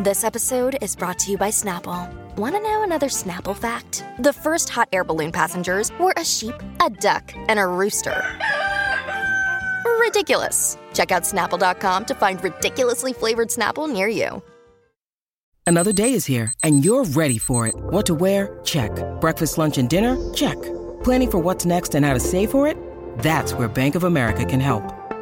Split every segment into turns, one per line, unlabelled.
This episode is brought to you by Snapple. Want to know another Snapple fact? The first hot air balloon passengers were a sheep, a duck, and a rooster. Ridiculous. Check out snapple.com to find ridiculously flavored Snapple near you.
Another day is here, and you're ready for it. What to wear? Check. Breakfast, lunch, and dinner? Check. Planning for what's next and how to save for it? That's where Bank of America can help.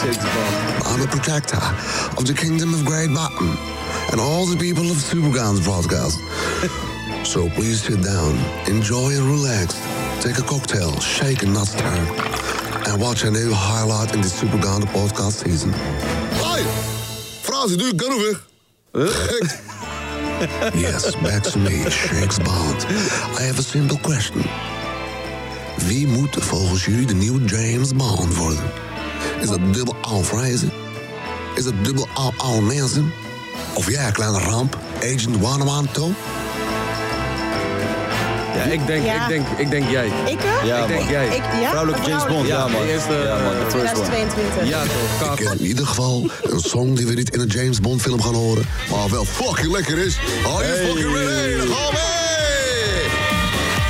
I'm a protector of the kingdom of Great Britain and all the people of Superguns broadcast. so please sit down, enjoy and relax, take a cocktail, shake and not stir, and watch a new highlight in the Superguns podcast season. Hoi! Frans, doe ik kunnen weg. Yes, back to me, Shakes Bond. I have a simple question. Wie moet volgens jullie de nieuwe James Bond worden? Is dat dubbel A reizen? Is dat dubbel A oude mensen? Of ja, kleine ramp, Agent 112?
Ja, ik denk,
Ja.
ik denk, ik denk jij.
Ik hè?
ik
Ik-
denk jij.
ik- ja?
Vrouwelijke James Bond, ja, man.
de eerste,
ja, man, de first one.
2022.
Ja, toch.
Ik
Kaap.
ken in ieder geval een song die we niet in een James Bond film gaan horen, maar wel fucking lekker is. Are you fucking ready? Dan gaan we!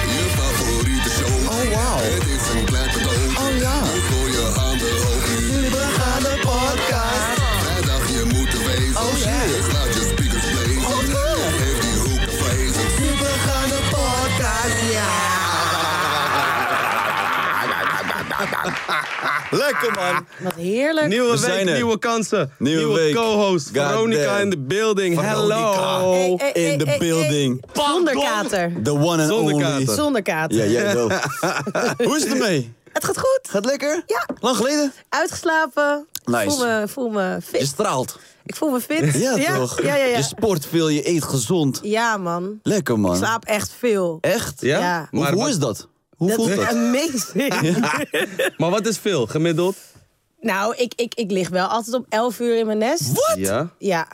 Je favoriete show. Oh wow. Het is een klein cadeau. Oh ja. Gooi je handen hoog. We gaan de podcast. Vrijdag je moet er wezen. Oh shit. Laat je speakers blazen. Oh no. Geef die hoek de feest. We gaan de podcast.
Lekker, man.
Wat heerlijk.
Nieuwe
We
week,
zijn er.
nieuwe kansen.
Nieuwe week.
co-host.
God
Veronica
damn.
in the building.
Veronica.
Hello.
Hey, hey, hey,
In the
hey,
building.
hey. Zonder kater.
The one and
Zonder
only.
kater.
Zonder kater.
Ja, jij wel. Hoe is het ermee?
Het gaat goed.
Gaat lekker?
Ja.
Lang geleden?
Uitgeslapen.
Nice.
Ik voel me, voel me fit.
Je straalt.
Ik voel me fit.
Ja, toch?
Eh, Ja, ja, ja.
Je sport veel, je eet gezond.
Ja, man.
Lekker, man.
Ik slaap echt veel.
Echt?
Ja?
Ja.
Hoe,
Maar,
hoe
wat,
is dat? Hoe
Dat
voelt
is
dat?
amazing.
maar wat is veel? Gemiddeld?
Nou, ik, ik, ik lig wel altijd om 11 uur in mijn nest.
Ja. Nou,
Ja.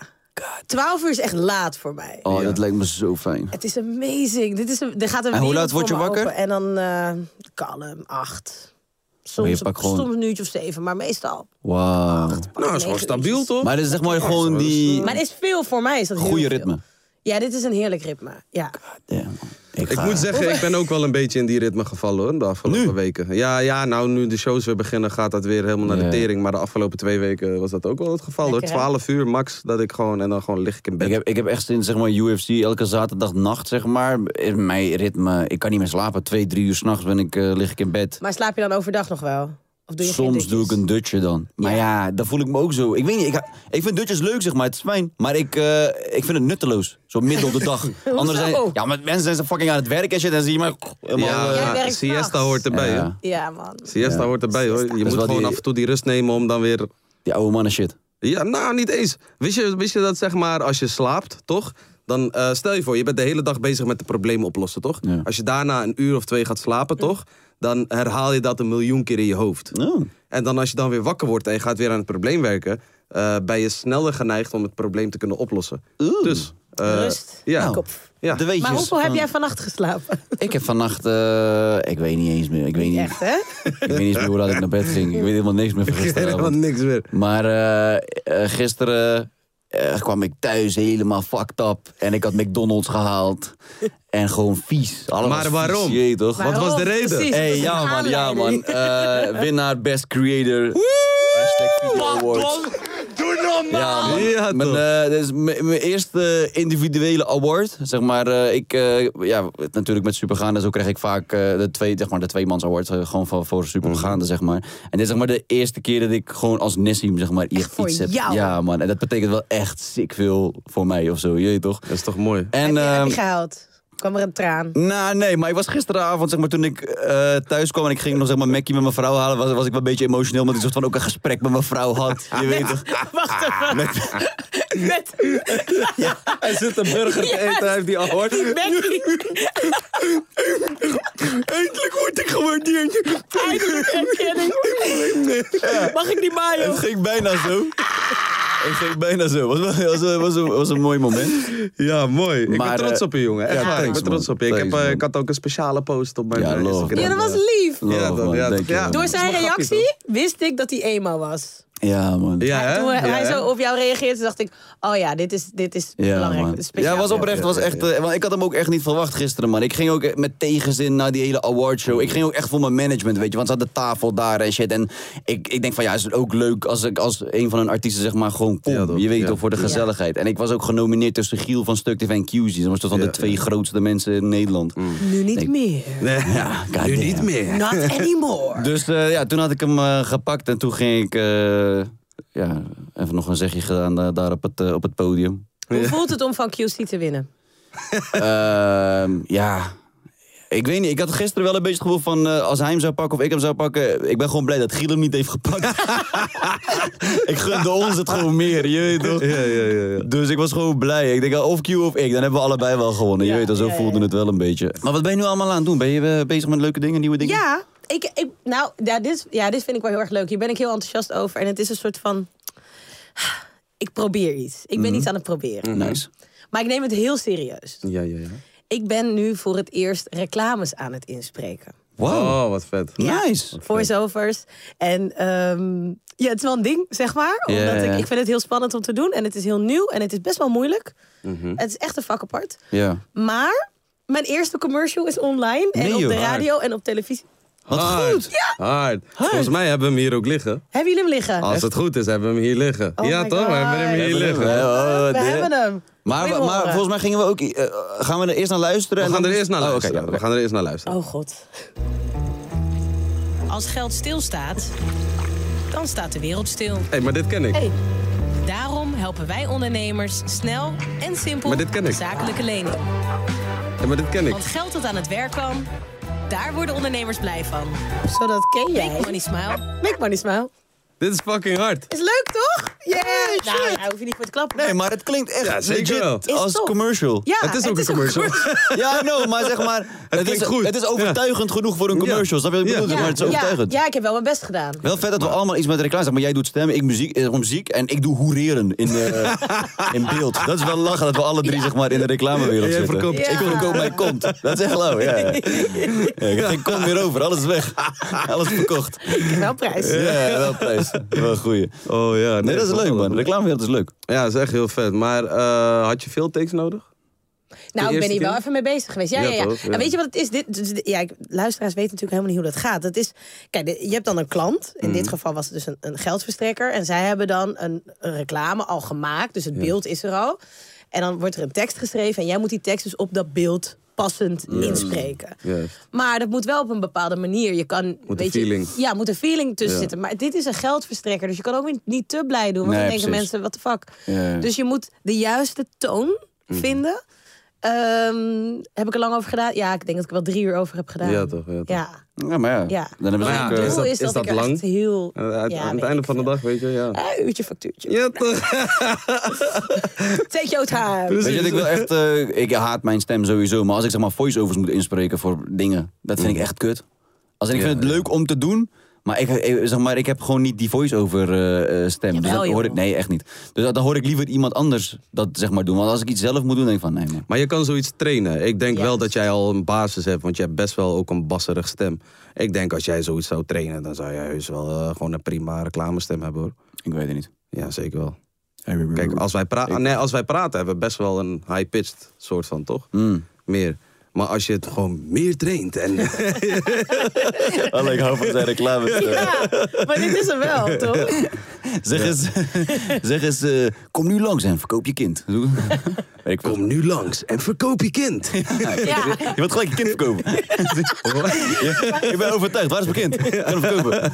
12 uur is echt laat voor mij.
Oh, dat lijkt me zo fijn.
Het is amazing. Dit is een, er gaat een
En hoe
wereld
laat word
voor
je
me
wakker?
open. En dan eh kalm, acht. Soms,
je pakt gewoon-
soms een uurtje of zeven, maar meestal.
Wauw.
Nou, is gewoon
Negen
stabiel,
uurtjes.
toch?
Maar dat is zeg maar gewoon die
Maar het is veel voor mij. Is dat heel
goede
veel.
ritme.
Ja, dit is een heerlijk ritme. Ja.
Damn, man. Ik,
Ik
ga-
moet zeggen, ik ben ook wel een beetje in die ritme gevallen hoor, de afgelopen weken. Ja, ja, nou nu de shows weer beginnen gaat dat weer helemaal naar
Ja.
de tering. Maar de afgelopen twee weken was dat ook wel het geval
Lekker,
hoor.
hè?
12 uur max dat ik gewoon, en dan gewoon lig ik in bed.
Ik heb, ik heb echt sinds zeg maar, UFC elke zaterdag nacht, zeg maar. in Mijn ritme, ik kan niet meer slapen. Twee, drie uur s'nachts ben ik, eh, lig ik in bed.
Maar slaap je dan overdag nog wel? Of doe je geen
Soms doe ik
dutjes?
een dutje dan. Maar ja, dan voel ik me ook zo. Ik weet niet, ik, ik vind dutjes leuk, zeg maar. Het is fijn. Maar ik, eh, ik vind het nutteloos. Zo midden op de dag. Anders zijn, ja, maar mensen zijn ze fucking aan het werk en shit. En zie je maar... helemaal, eh,
Jij
Ja,
werkt
siesta
s'nachts.
hoort erbij.
Ja.
hè.
Ja, man.
Siesta hoort erbij hoor. Je
is
moet
wel
gewoon
die-
af en toe die rust nemen om dan weer.
die oude mannen shit.
Ja, nou niet eens. Wist je, wist je dat zeg maar als je slaapt, toch? Dan eh, stel je voor, je bent de hele dag bezig met de problemen oplossen, toch?
Ja.
Als je daarna een uur of twee gaat slapen, toch? Dan herhaal je dat een miljoen keer in je hoofd.
Oh.
En dan als je dan weer wakker wordt en je gaat weer aan het probleem werken, eh, ben je sneller geneigd om het probleem te kunnen oplossen. Dus. eh,
Rust.
Ja.
Kop.
ja.
Nou. De weetjes
Maar hoeveel heb
van-
jij vannacht geslapen?
Ik heb vannacht... eh, ik weet niet eens meer. Ik weet niet,
Echt, hè?
ik weet niet eens meer hoe laat ik naar bed ging. Ik weet helemaal niks meer van
Helemaal
gisteravond.
niks meer.
Maar eh, eh, gisteren eh, kwam ik thuis helemaal fucked up. En ik had McDonald's gehaald. En gewoon vies. Alles
Maar
was
waarom?
Vies, je weet toch?
Wat was de
Waarom?
reden?
Oh, Precies,
Hey,
dat is
ja
een
man, ja man.
aanleiding.
Eh, winnaar Best Creator. Hashtag Video Awards. Ja, man.
Ja,
Mijn,
toch.
eh, dit is mijn mijn eerste individuele award. Zeg maar, eh, ik, eh, ja, natuurlijk met Supergaande, zo krijg ik vaak eh, de, twee, zeg maar, de tweemans award. eh, gewoon van, voor Supergaande,
Mm.
zeg maar. En dit is zeg maar de eerste keer dat ik gewoon als Nessim, zeg maar, hier
voor
fiets heb.
jou.
Ja, man. En dat betekent wel echt sick veel voor mij of zo, je weet toch?
Dat is toch mooi?
heb
En, ehm,
je gehaald? kwam er een traan.
Nou, nee, maar ik was gisteravond, zeg maar, toen ik eh, thuis kwam en ik ging nog, zeg maar, Mackie met mijn vrouw halen, was, was ik wel een beetje emotioneel, omdat ik soort van ook een gesprek met mijn vrouw had. Je weet toch?
Wacht
Ah.
even. Met
Hij zit een burger te eten, hij heeft die al gehoord.
Becky.
Eindelijk word ik gewaardeerd.
Eindelijk erkenning. Mag ik die mayo?
Het ging bijna zo. Het ging bijna zo. Was, wel- was, was, was, een, was een mooi moment.
Ja, mooi. Ik
Maar,
ben trots
eh,
op je, jongen. Echt
ja,
waar, ik
thanks,
ben trots
man.
op je. Ik, heb,
Thanks,
eh,
man.
ik had ook een speciale post op mijn
Ja,
eh,
love,
Ja,
Instagram.
dat was lief.
Love,
Ja, dan,
man.
ja,
Dank
toch, ja.
je,
Door
man.
zijn
Dat is wel grappig,
reactie wist ik dat hij emo was.
Ja, man.
Ja, hè?
Toen hij
Ja, hè?
zo op jou reageerde, dacht ik... Oh ja, dit is, dit is belangrijk.
man.
Dit is
Ja,
speciaal.
was oprecht. Was echt, eh, want ik had hem ook echt niet verwacht gisteren, man. Ik ging ook met tegenzin naar die hele awardshow. Ik ging ook echt voor mijn management, weet je. Want ze hadden tafel daar en shit. En ik, ik denk van, ja, is het ook leuk als ik als een van hun artiesten, zeg maar, gewoon kom.
Ja, toch?
je weet
Ja.
toch, voor de gezelligheid. En ik was ook genomineerd tussen Giel van Stuk TV en QZ. Dat was toch van
Ja,
de twee grootste mensen in Nederland.
Nu niet meer.
Nee,
Ja, god
nu
damn.
niet meer.
Not anymore.
Dus eh, ja, toen had ik hem eh, gepakt en toen ging ik... eh, ja, even nog een zegje gedaan eh, daar op het, eh, op het podium.
Hoe voelt het om van QC te winnen?
Ehm, ja. Ik weet niet, ik had gisteren wel een beetje het gevoel van eh, als hij hem zou pakken of ik hem zou pakken. Ik ben gewoon blij dat Giel hem niet heeft gepakt. ik gunde ons het gewoon meer, je weet toch?
Ja, ja, ja. ja.
Dus ik was gewoon blij. Ik denk, of Q of ik, dan hebben we allebei wel gewonnen. je
Ja,
weet toch, zo
ja, ja,
voelde
ja.
het wel een beetje. Maar wat ben je nu allemaal aan het doen? Ben je eh, bezig met leuke dingen, nieuwe dingen?
Ja, ik, ik, nou, ja dit, is- ja, dit vind ik wel heel erg leuk. Hier ben ik heel enthousiast over. En het is een soort van... Ik probeer iets. Ik ben iets aan het proberen.
Mhm. Nice.
Maar ik neem het heel serieus.
Ja, ja, ja.
Ik ben nu voor het eerst reclames aan het inspreken.
Wow.
Oh, wat vet.
Nice.
Voiceovers. En ehm, ja, het is wel een ding, zeg maar.
Ja,
Omdat
ja, ja.
Ik, ik vind het heel spannend om te doen. En het is heel nieuw. En het is best wel moeilijk.
Mhm.
Het is echt een vak apart.
Ja.
Maar mijn eerste commercial is online. En
Nee,
op de
joh.
radio en op televisie.
Wat
Hard.
goed.
Hard. Volgens mij hebben we hem hier ook liggen.
Hebben jullie hem liggen?
Als het goed is, hebben we hem hier liggen.
Oh
ja,
my
toch? We hebben hem
God.
hier
We hebben
liggen.
hem, hè? Oh,
we
dit.
hebben hem.
Maar,
Wil je hem
maar
horen?
volgens mij gingen we ook... eh, gaan we er eerst naar luisteren?
We gaan er eerst naar
Oh, oké,
luisteren.
ja,
We gaan er eerst naar luisteren.
Oh god. Als geld stilstaat, dan staat de wereld stil.
Hé, maar dit ken ik.
Hey. Daarom helpen wij ondernemers snel en simpel
Maar dit ken ik.
zakelijke lening.
Hé, maar dit ken ik.
Want geld dat aan het werk kan, daar worden ondernemers blij van. Zodat ken jij. Make money smile. Make money smile.
Dit is fucking hard.
Is leuk toch? Yeah, shit. Nou, ja, hoef je niet voor te klappen.
Nee, maar het klinkt echt
Ja, zeker
legit
wel.
Is
als
top.
commercial.
Ja,
het is ook een commercial.
Ja, I know, maar zeg maar... Het,
klinkt
is,
goed.
het is overtuigend genoeg voor een commercial.
Ja.
Snap je wat ik
Ja.
bedoel? Maar het is overtuigend.
Ja, ja, ik heb wel mijn best gedaan.
Wel vet dat we allemaal iets met reclame zeggen. Maar jij doet stemmen, ik muziek, eh, muziek en ik doe hoereren in, eh, in beeld. Dat is wel lachen dat we alle drie zeg maar, in de reclamewereld
En jij
zitten.
verkoopt-
Ja.
Ik verkoop mijn kont. Dat is echt lauw, ja. ja. Ik heb geen kont meer over, alles is weg. Alles verkocht.
Ik heb wel prijs.
Ja, wel prijs. Wel een goeie.
Oh ja.
Nee, dat is leuk man. De reclamewereld is leuk.
Ja, dat is echt heel vet. Maar eh, had je veel takes nodig?
Nou,
De
ik ben
eerste
hier wel
keer?
even mee bezig geweest. Ja,
Ja,
ja, ja.
toch? Ja.
En weet je wat het is? Dit, dus dit- ja, ik- luisteraars weten natuurlijk helemaal niet hoe dat gaat. Dat is, kijk, dit- je hebt dan een klant. In
Mhm.
dit geval was het dus een, een geldverstrekker. En zij hebben dan een, een reclame al gemaakt. Dus het beeld is er al. En dan wordt er een tekst geschreven. En jij moet die tekst dus op dat beeld passend inspreken.
Juist.
Maar dat moet wel op een bepaalde manier. Je kan,
Moet
weet
een feeling.
Je, ja, moet een feeling tussen
Ja.
zitten. Maar dit is een geldverstrekker. Dus je kan ook niet, niet te blij doen. Want
Nee,
dan denken
precies.
mensen, wat de fuck.
Ja.
Dus je moet de juiste toon
Mhm.
vinden. Ehm, heb ik er lang over gedaan? Ja, ik denk dat ik er wel drie uur over heb gedaan.
Ja, toch, ja, toch.
Ja.
Ja, maar ja.
ja.
Dan hebben ze
Maar
ja,
ook,
het
eh,
doel
is
is
dat- is
dat,
dat
ik er
lang?
echt heel...
Eh, uit-
ja,
aan
weet
het einde
ik
van de
veel.
dag, weet je? Ja.
Eh, uurtje factuurtje.
Ja, toch?
Take your time.
Precies.
Weet je, wat ik wil echt, eh, ik haat mijn stem sowieso, maar als ik zeg maar voiceovers moet inspreken voor dingen, dat vind ik echt kut. Als in, ik vind het leuk om te doen, maar ik, eh, zeg maar, ik heb gewoon niet die voice-over eh, eh, stem. Dus
Jawel,
dat hoor ik,
joh.
nee, echt niet. Dus dat- dan hoor ik liever iemand anders dat zeg maar doen. Want als ik iets zelf moet doen, denk ik van nee man.
Maar je kan zoiets trainen. Ik denk wel
Juist.
dat jij al een basis hebt, want je hebt best wel ook een basserig stem. Ik denk als jij zoiets zou trainen, dan zou jij heus wel eh, gewoon een prima reclamestem hebben hoor.
Ik weet het niet.
Ja, zeker wel.
Kijk,
Kijk, als wij, pra- nee, als wij praten hebben we best wel een high-pitched soort van, toch?
Mm.
Meer. Maar als je het gewoon meer traint en...
Alleen ik hou van zijn reclame.
Ja, maar dit is er wel, toch?
Zeg eens, zeg eens eh, kom nu langs en verkoop je kind. Weet ik veel.
Kom nu langs en verkoop je kind.
Ja.
Je wilt gelijk een kind verkopen. Ja, ik ben overtuigd. Waar is mijn kind? Ik kan hem verkopen.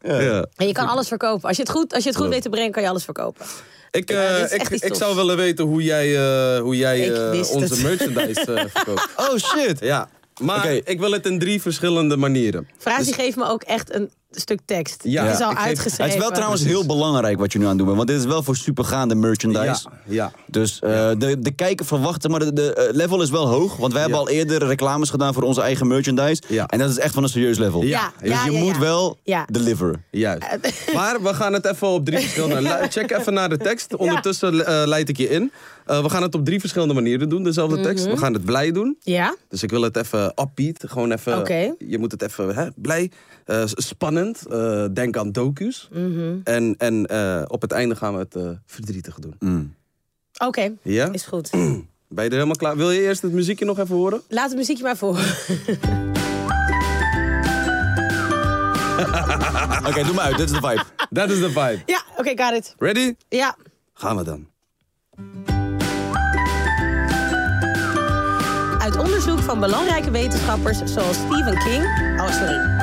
Ja.
En je kan alles verkopen. Als je het goed, als je het goed weet te brengen, kan je alles verkopen.
Ik,
Ja,
eh,
dit is
ik,
echt iets
ik
tofs.
zou willen weten hoe jij, eh, hoe jij
Ik
eh,
wist
onze
het.
merchandise eh, verkoopt.
Oh shit.
Ja, maar
Oké.
ik wil het in drie verschillende manieren.
Frazi geeft me ook echt een stuk tekst.
Dus- Ja,
het is al
ik geef-
uitgeschreven.
Het is wel trouwens heel belangrijk wat je nu aan het doen bent. Want dit is wel voor supergaande merchandise.
Ja, ja.
Dus eh, de, de kijker verwachten, maar de, de eh, level is wel hoog. Want wij hebben al eerder reclames gedaan voor onze eigen merchandise.
Ja.
En dat is echt van een serieus level.
Ja,
Dus
ja,
je
ja,
moet
ja.
wel
Ja.
deliveren.
Juist. Maar we gaan het even op drie verschillende... lu- Check even naar de tekst. Ondertussen eh, leid ik je in. Eh, we gaan het op drie verschillende manieren doen, dezelfde tekst. We gaan het blij doen.
Ja?
Dus ik wil het even upbeat. Gewoon even...
Oké.
Je moet het even hè, blij, eh, s- spannend. eh, denk aan docu's. En, en eh, op het einde gaan we het eh, verdrietig doen.
Mm.
Oké,
Ja?
is goed.
Ben je er helemaal klaar? Wil je eerst het muziekje nog even horen?
Laat het muziekje maar voor.
Oké, doe maar uit. Dit is de vibe.
Dat is de vibe.
Ja, oké, got it.
Ready?
Ja.
Gaan we dan.
Uit onderzoek van belangrijke wetenschappers zoals Stephen King... Oh, sorry.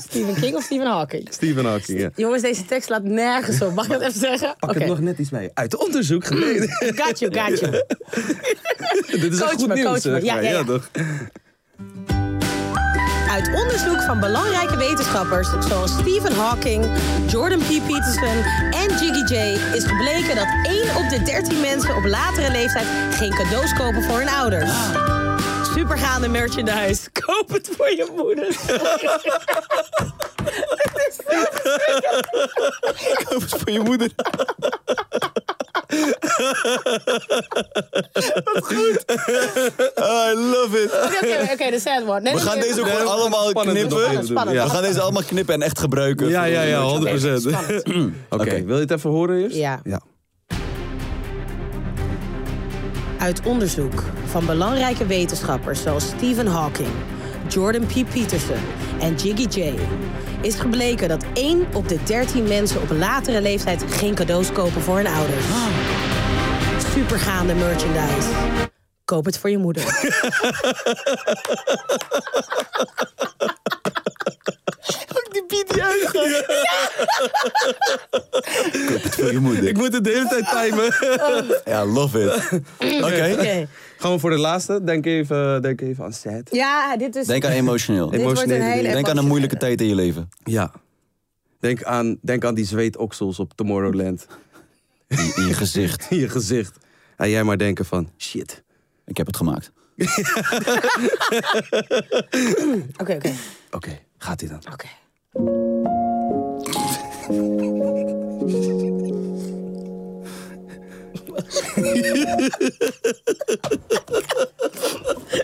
Stephen King of Stephen Hawking?
Stephen Hawking, ja.
Jongens, deze tekst laat nergens op. Mag ik dat even zeggen?
Pak
Oké.
het nog net iets mee. Uit onderzoek geleden.
Got you, got you.
Dit is
Coach
echt goed
me,
nieuws.
coach me.
zeg
Ja,
maar.
ja, ja.
toch?
Uit onderzoek van belangrijke wetenschappers zoals Stephen Hawking, Jordan P. Peterson en Jiggy J is gebleken dat 1 op de 13 mensen op latere leeftijd geen cadeaus kopen voor hun ouders.
Ah.
Supergaande merchandise. Koop het voor je moeder.
Koop het voor je moeder. goed. I love it.
Oké, oké, oké, de sad one. Nee,
We
nee,
gaan
nee,
deze ook
nee,
gewoon allemaal
spannend nog
knippen.
even
doen.
Ja, We gaan deze allemaal knippen en echt gebruiken.
Ja,
voor
ja,
onze
ja,
merchandise.
100%.
spannend.
Oké, wil je het even horen eerst?
Ja.
ja.
Uit onderzoek van belangrijke wetenschappers zoals Stephen Hawking, Jordan P. Peterson en Jiggy J is gebleken dat 1 op de 13 mensen op latere leeftijd geen cadeaus kopen voor hun ouders. Supergaande merchandise. Koop het voor je moeder.
Die biedt die uit. Koop het voor je moeder.
Ik moet het de hele tijd timen.
Ja, love it. Oké.
Oké.
Gaan we voor de laatste? Denk even, denk even aan sad.
Ja, dit is.
Denk aan emotioneel.
dit wordt een
emotionele
hele
dingen.
Denk aan een moeilijke tijd in je leven.
Ja. Denk aan, denk aan die zweetoksels op Tomorrowland.
In, in je gezicht.
In je gezicht. En jij maar denken van, shit.
Ik heb het gemaakt.
Oké, oké.
Oké, gaat hij dan.
Oké.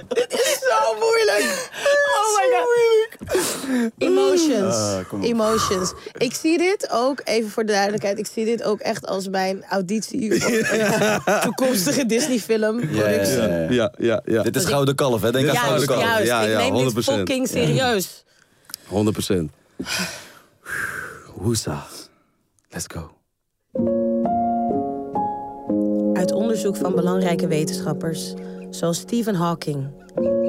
Dit is zo moeilijk. Oh my god. Emotions.
Eh,
Emotions. Ik zie dit ook, even voor de duidelijkheid, ik zie dit ook echt als mijn auditie voor een toekomstige Disney-film. productie.
Ja.
Ja, ja, ja.
Dit is Gouden Kalf, hè? Denk aan
Ja,
Gouden
Juist,
Kalf.
ja.
juist.
Eh, ja,
ik neem dit
100%.
fucking serieus.
100%. Hoesa. Let's go.
Uit onderzoek van belangrijke wetenschappers zoals Stephen Hawking,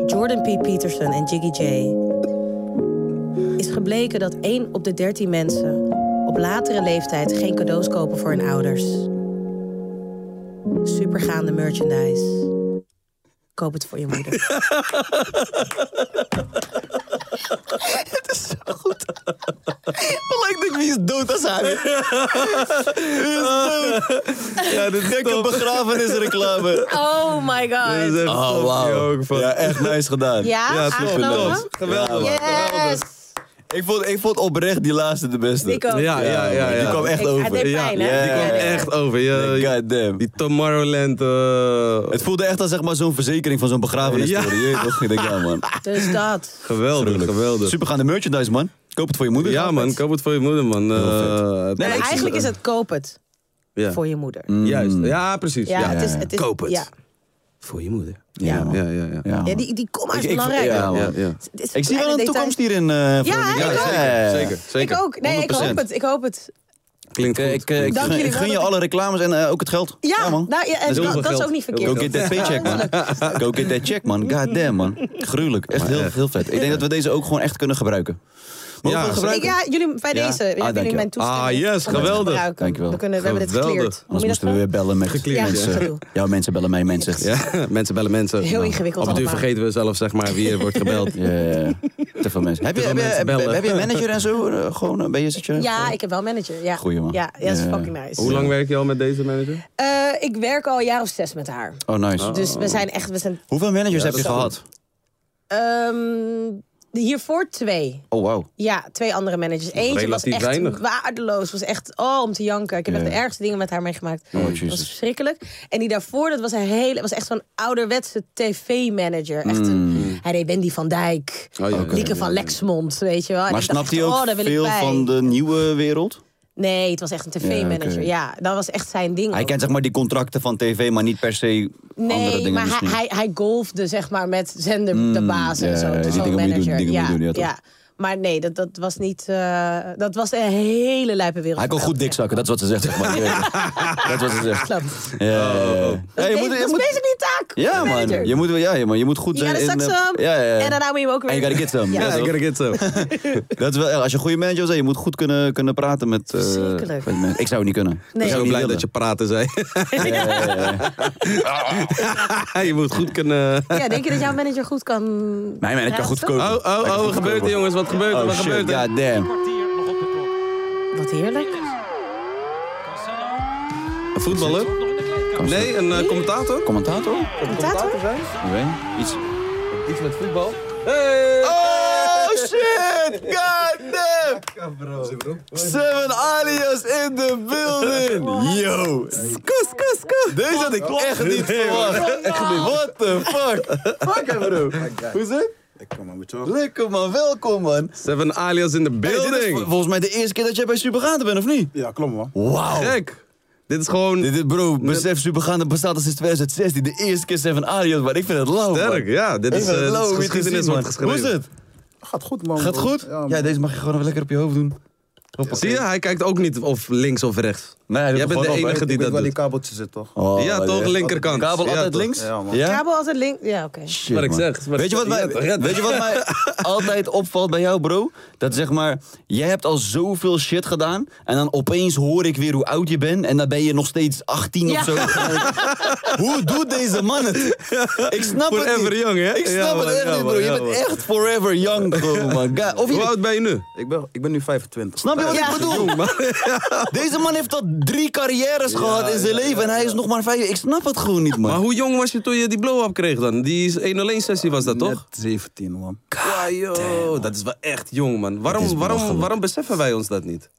Jordan P. Peterson en Jiggy J. is gebleken dat 1 op de 13 mensen op latere leeftijd geen cadeaus kopen voor hun ouders. Supergaande merchandise. Koop het voor je moeder.
Ik denk, wie is dood als hij?
Ja, dit is
Gekke begrafenisreclame.
Oh my god.
Oh, wauw. Ja, echt nice gedaan.
Ja,
Ja,
super
aangenomen?
nice.
Geweldig.
Ja,
Yes!
ik, vond, ik vond oprecht die laatste de beste.
Ik ook.
Ja, ja, ja, ja.
Die kwam echt
Ik- het deed
over.
pijn, hè?
Ja,
Die kwam
ja, ja.
echt over. Je,
God damn.
Eh, die Tomorrowland... eh,
Het voelde echt als zeg maar, zo'n verzekering van zo'n begrafenis.
Ja.
Ja. Je, toch? Ik denk, ja, man.
Dus dat.
geweldig, geweldig.
Supergaande merchandise, man. Koop het voor je moeder.
Ja, man, koop het voor je moeder, man. Eh,
Nee,
Maar
ik-
eigenlijk is het koop het
ja.
voor je moeder.
Mm.
Juist, ja, precies.
Ja,
Ja,
het is, het is,
Koop het.
Ja,
Voor je moeder.
Ja, man.
Ja, ja, ja.
Ja, man.
ja die, die komma
Ik-
is
ik-
belangrijk.
ja, man.
Ja, ja.
Dit is
Ik zie wel
kleine
een
detail.
toekomst hierin. eh, voor
Ja,
die-
ik ook.
Zeker, zeker, zeker.
Ik ook. Nee, ik hoop
100%.
het. Ik hoop het.
Klinkt
ik,
goed.
ik, eh, ik
Dank
gun-
jullie
ik
wel
gun je
dat
alle reclames en eh, ook het geld.
Ja, nou, ja, en
is heel
dat,
veel
dat is
geld.
ook niet
Heel
verkeerd.
Go get that paycheck, man. Go get that check, man. God damn, man. Gruwelijk. Echt heel, heel vet. Ik denk dat we deze ook gewoon echt kunnen gebruiken. Mogen
Ja,
we hem
zeker.
Ik-
gebruiken?
ja, jullie bij
Ja?
deze.
Ah,
hebben jullie
dankjewel.
mijn toestemming.
Ah, yes,
om het te
geweldig.
gebruiken.
Dankjewel.
We, kunnen, we hebben dit
Geweldig.
gekleerd. Hoe
Anders
je dat
moesten we weer bellen met...
Gekleerd,
Ja,
ja.
gedoe.
Jouw mensen bellen mij, mensen.
Ja, mensen bellen mensen.
Heel ingewikkeld
Op het duur
allemaal.
vergeten we zelf zeg maar wie er wordt gebeld.
Ja, ja, ja. Te veel mensen. Heb je,
veel
heb, je,
mensen
heb,
bellen.
heb je een manager en zo? Eh, Gewoon, eh, ben je zit je?
Ja, ik heb wel een manager. Ja.
Goeie man.
Ja, ja, dat is
Ja.
fucking nice.
Hoe lang werk je al met deze manager?
Eh, ik werk al een jaar of zes met haar.
Oh, nice.
Dus we zijn echt... We zijn,
Hoeveel managers heb je
dat is
gehad?
ehm, hiervoor twee.
Oh, wauw.
Ja, twee andere managers. Eentje was
relatief
echt
weinig.
waardeloos. Was echt, oh, om te janken. Ik heb echt de ergste dingen met haar meegemaakt.
Oh.
dat was
Jezus.
verschrikkelijk. En die daarvoor, dat was een hele, was echt zo'n ouderwetse tv-manager. Echt
Hmm.
een, hij deed Wendy van Dijk,
Oh, ja,
Lieke van Lexmond, weet je wel. En
Maar
ik dacht
snapt hij
echt,
ook
oh, daar wil ik
veel
bij.
van de nieuwe wereld?
Nee, het was echt een tv-manager.
Ja,
Ja,
oké.
dat was echt zijn ding.
Hij
ook.
kent zeg maar die contracten van tv, maar niet per se andere
Nee,
dingen
maar hij,
misschien. Hmm,
hij, hij golfde zeg maar met zender, de baas
ja,
en zo.
ja,
Het
die
was wel
dingen
een
moet je doen,
manager.
die dingen
ja,
moet je doen, ja,
ja. Maar nee, dat, dat was niet. eh, dat was een hele lijpe wereld.
Hij kan
van
goed
elke-
dikzakken, dat is wat ze zegt. Zeg maar. dat is wat ze zegt.
Klopt.
Ja, ja, ja. Ja,
Dat
je
is
moet-
bas-
je
dat
moet-
is basically een taak.
Ja,
van een
man.
manager.
Je moet, ja, ja, man. Je moet goed
You
eh,
gotta suck
eh,
some.
ja, ja, ja.
En daarna moet je hem ook weer.
En you gotta get some.
Ja.
Dat is
Ja,
ook-
ik get zo.
Dat is wel, als je een goede manager wil zijn, je moet goed kunnen, kunnen praten met, eh,
Verschrikkelijk.
met mensen. Ik zou het niet kunnen.
Nee.
Ik
Ik ben
zou
zo blij
niet
dat je praten zei. Ah. je moet goed kunnen...
Ja, denk je dat jouw manager goed kan.
Mijn manager kan goed
praten?
verkopen.
Oh, oh, oh, wat gebeurt er jongens? Wat gebeurt er?
Oh
wat
shit,
gebeurt er?
god damn.
Wat heerlijk.
Een voetballer? Nee, een eh, commentator?
Commentator?
Commentator?
zijn?
Ik weet niet. Iets.
Iets met voetbal? Hey!
Oh shit! God damn! Seven alias in the building! Yo! Kus, kus, kus! Deze had ik echt niet verwacht. Echt niet. What the fuck? Fuck hem, bro. Hoe is het? Lekker man, welkom man.
Seven alias in the
Hey, dit is
building.
vol- volgens mij de eerste keer dat jij bij Supergaande bent, of niet?
Ja, klopt man.
Wauw.
Gek. Dit is gewoon...
Dit is, bro, besef, Supergaande bestaat al sinds 2016. De eerste keer Seven Alias, maar ik vind het lauw, man.
Sterk, ja. Dit
Ik
is,
vind
eh,
het
dit
lauw
is
om je te
geschiedenis
zien,
wordt
man.
geschreven.
Hoe is het?
Gaat goed man.
Gaat goed?
Ja,
Ja,
man.
deze mag je gewoon even lekker op je hoofd doen.
Zie je, hij kijkt ook niet of links of rechts.
Nee, hij doet
Jij
het
bent de
gewoon op, hè.
enige
Ik
eh, die
weet
dat
waar die
doet.
kabeltjes zit toch?
Oh,
Ja, toch, linkerkant.
Kabel
Ja,
altijd
toch.
links?
Ja, man.
Ja?
Kabel altijd link. Ja, oké.
Shit,
Wat ik
man.
zeg, wat
weet, je
ik
wat mij,
zeg, ja, red.
weet je wat mij altijd opvalt bij jou, bro? Dat zeg maar, jij hebt al zoveel shit gedaan. En dan opeens hoor ik weer hoe oud je bent. En dan ben je nog steeds 18
Ja.
of zo. hoe doet deze man het? Ik snap het
Forever
niet.
young, hè?
Ik snap
Ja,
het
man,
echt
ja,
niet,
man,
bro. je
ja,
bent
man.
echt forever young, bro, man. God, Of je-
Hoe oud ben je nu?
Ik ben, ik ben nu 25.
Snap je wat
Ja.
ik bedoel? Deze man heeft al drie carrières gehad in zijn leven. En hij is nog maar vijf. Ik snap het gewoon niet, man.
Maar hoe jong was je toen je die blow-up kreeg dan? Die 101 sessie was dat toch?
Net 17 man.
Ja, joh, Oh, dat is wel echt jong, man.
is
Waarom, waarom,
belachelijk.
waarom beseffen wij ons dat niet?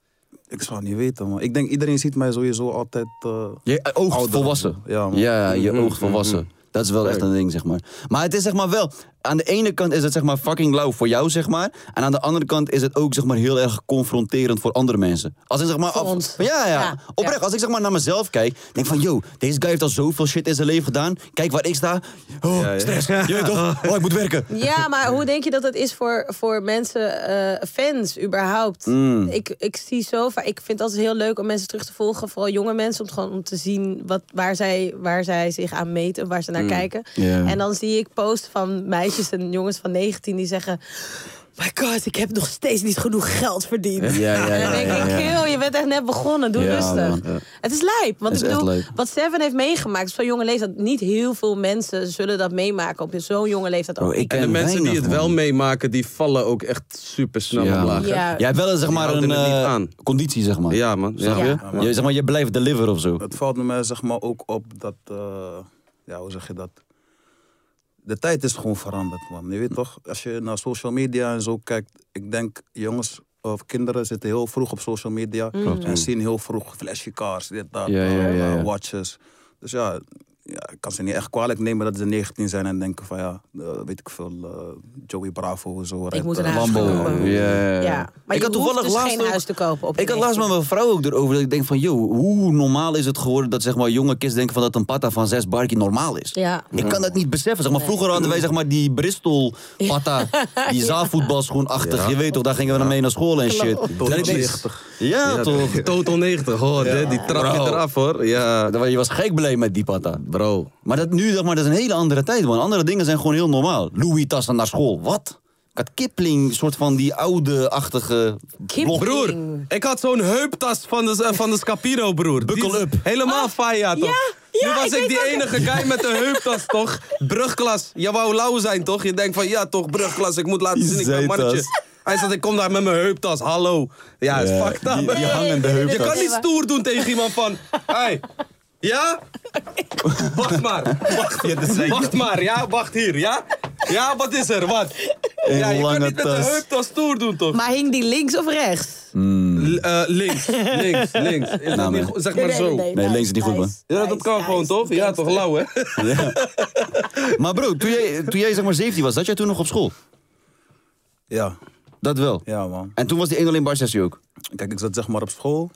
Ik zou het niet weten man. Ik denk iedereen ziet mij sowieso altijd... eh,
Je oogt
Ouder.
volwassen.
Ja,
Ja,
man.
je oogt volwassen. Dat is wel echt een ding, zeg maar. Maar het is zeg maar wel... Aan de ene kant is het zeg maar fucking lauw voor jou, zeg maar. En aan de andere kant is het ook zeg maar heel erg confronterend voor andere mensen. Als ik zeg maar...
Voor
af-
ons.
Ja, ja,
Ja,
Oprecht,
ja.
als ik zeg maar naar mezelf kijk, denk van... Yo, deze guy heeft al zoveel shit in zijn leven gedaan. Kijk waar ik sta. Oh, stress. Je weet toch? Oh, ik moet werken.
Ja, maar hoe denk je dat het is voor, voor mensen, eh, fans überhaupt?
Mm.
Ik, ik zie zo vaak, ik vind het altijd heel leuk om mensen terug te volgen, vooral jonge mensen, om, gewoon, om te zien wat, waar, zij, waar zij zich aan meten, waar ze naar kijken.
Mm. Ja.
En dan zie ik posts van meisjes en jongens van 19 die zeggen. My god, ik heb nog steeds niet genoeg geld verdiend.
Ja, ja, ja,
en dan denk
ja,
ik,
ja.
"Kill, je bent echt net begonnen. Doe
Ja,
rustig.
man, ja.
Het is lijp. Want
Het
ik
is echt
bedoel,
leuk.
wat Seven heeft meegemaakt, op zo'n jonge leeftijd, niet heel veel mensen zullen dat meemaken op zo'n jonge leeftijd.
Bro,
ook.
Oh, ik
En de
ken
mensen die
weinig,
het wel
man.
meemaken, die vallen ook echt super snel
Ja,
omlaag.
man.
hè?
Ja.
Jij hebt wel zeg maar
houden
een
het niet
eh,
aan.
conditie, zeg maar.
Ja, man.
Snap
Ja.
je?
Ja,
man.
je? Zeg maar, je blijft deliver of zo.
Het valt me zeg maar ook op dat, eh, ja hoe zeg je dat? De tijd is gewoon veranderd man. Je weet toch, als je naar social media en zo kijkt, ik denk jongens of kinderen zitten heel vroeg op social media en zien heel vroeg flashie cars, dit, dat,
Mm. Ja, ja,
eh,
ja, ja.
watches. Dus ja, ja, ik kan ze niet echt kwalijk nemen dat ze 19 zijn en denken van ja, eh, weet ik veel, eh, Joey Bravo zo. rijdt,
moet een
eh,
huis
Lambo.
kopen.
Ja, ja,
Ja,
ja.
maar je hoeft dus geen
ook-
huis te kopen op
ik
je
had laatst
19e.
met mijn vrouw ook erover dat ik denk van, joh, hoe normaal is het geworden dat zeg maar jonge kids denken van dat een patta van zes barkie normaal is.
Ja.
Ik kan dat niet beseffen. Zeg maar, vroeger hadden wij zeg maar die Bristol patta, die zaalvoetbalschoenachtig. Je weet toch, daar gingen we dan mee naar school en shit.
Tot
Dat ik denk-
90.
Ja, toch.
Total 90, hoor. dit- Die trap je
Bro.
eraf, hoor. Ja,
Dat- Je was gek blij met die patta.
bro.
Maar dat nu, zeg maar, dat is een hele andere tijd, man. Andere dingen zijn gewoon heel normaal. Louis tassen naar school. Wat? Ik had Kipling, soort van die oude-achtige...
Kipling.
blok.
Broer, ik had zo'n heuptas van de, eh, van de Scapino, broer.
Buckle
Die-
up. Ah.
Helemaal faya, toch?
ja,
nu was
ik
ik,
weet
die
welke.
enige guy met een heuptas, toch? Brugklas. Je wou lauw zijn, toch? Je denkt van, ja, toch, brugklas. Ik moet laten
Die
zien, ik ben
zei
mannetje.
tas.
Hij zat, ik kom daar met mijn heuptas, hallo. Ja, is
Ja,
fucked up.
die- die
hè?
hangende
Je
heuptas.
kan niet stoer doen tegen iemand van, hey, ja? Wacht maar, wacht, wacht maar, ja, wacht hier, ja? Ja, wat is er, wat?
Een
ja, je
lange
kan niet met
tas.
een heuptas stoer doen, toch?
Maar hing die links of rechts?
L- eh, links, links, links. Is dat niet
man.
goed? Zeg maar zo.
Nee, links is niet goed, man.
Ja, dat kan gewoon, toch? Ja, toch lauw, hè?
Maar bro, toen jij, toen jij zeg maar 17 was, zat jij toen nog op school?
Ja,
Dat wel.
ja man.
En toen was die 1 in bar sessie ook?
Kijk, ik zat zeg maar op school,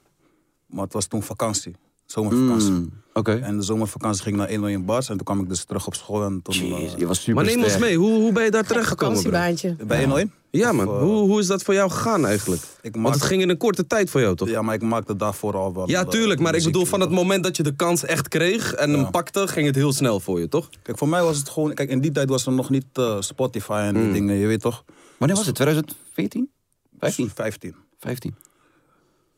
maar het was toen vakantie. Zomervakantie.
Mm, Oké.
En de zomervakantie ging ik naar 1 miljoen bars en toen kwam ik dus terug op school. En toen,
Jeez,
eh,
je was super
Maar neem ons mee, hoe, hoe ben je daar terechtgekomen, bro?
Vakantiebaantje.
bij 1 miljoen?
Ja, man.
Of, eh,
Hoe, hoe is dat voor jou gegaan eigenlijk?
Ik
Want
maak-
het ging in een korte tijd voor jou, toch?
Ja, maar ik maakte daarvoor al wel.
Ja,
eh,
tuurlijk. Maar ik
muziek,
bedoel, van het
toch?
moment dat je de kans echt kreeg en hem pakte, ging het heel snel voor je, toch?
Kijk, voor mij was het gewoon. Kijk, in die tijd was er nog niet eh, Spotify en die
Mm.
dingen, je weet toch?
Wanneer was het? 2014? 15?
15.
15.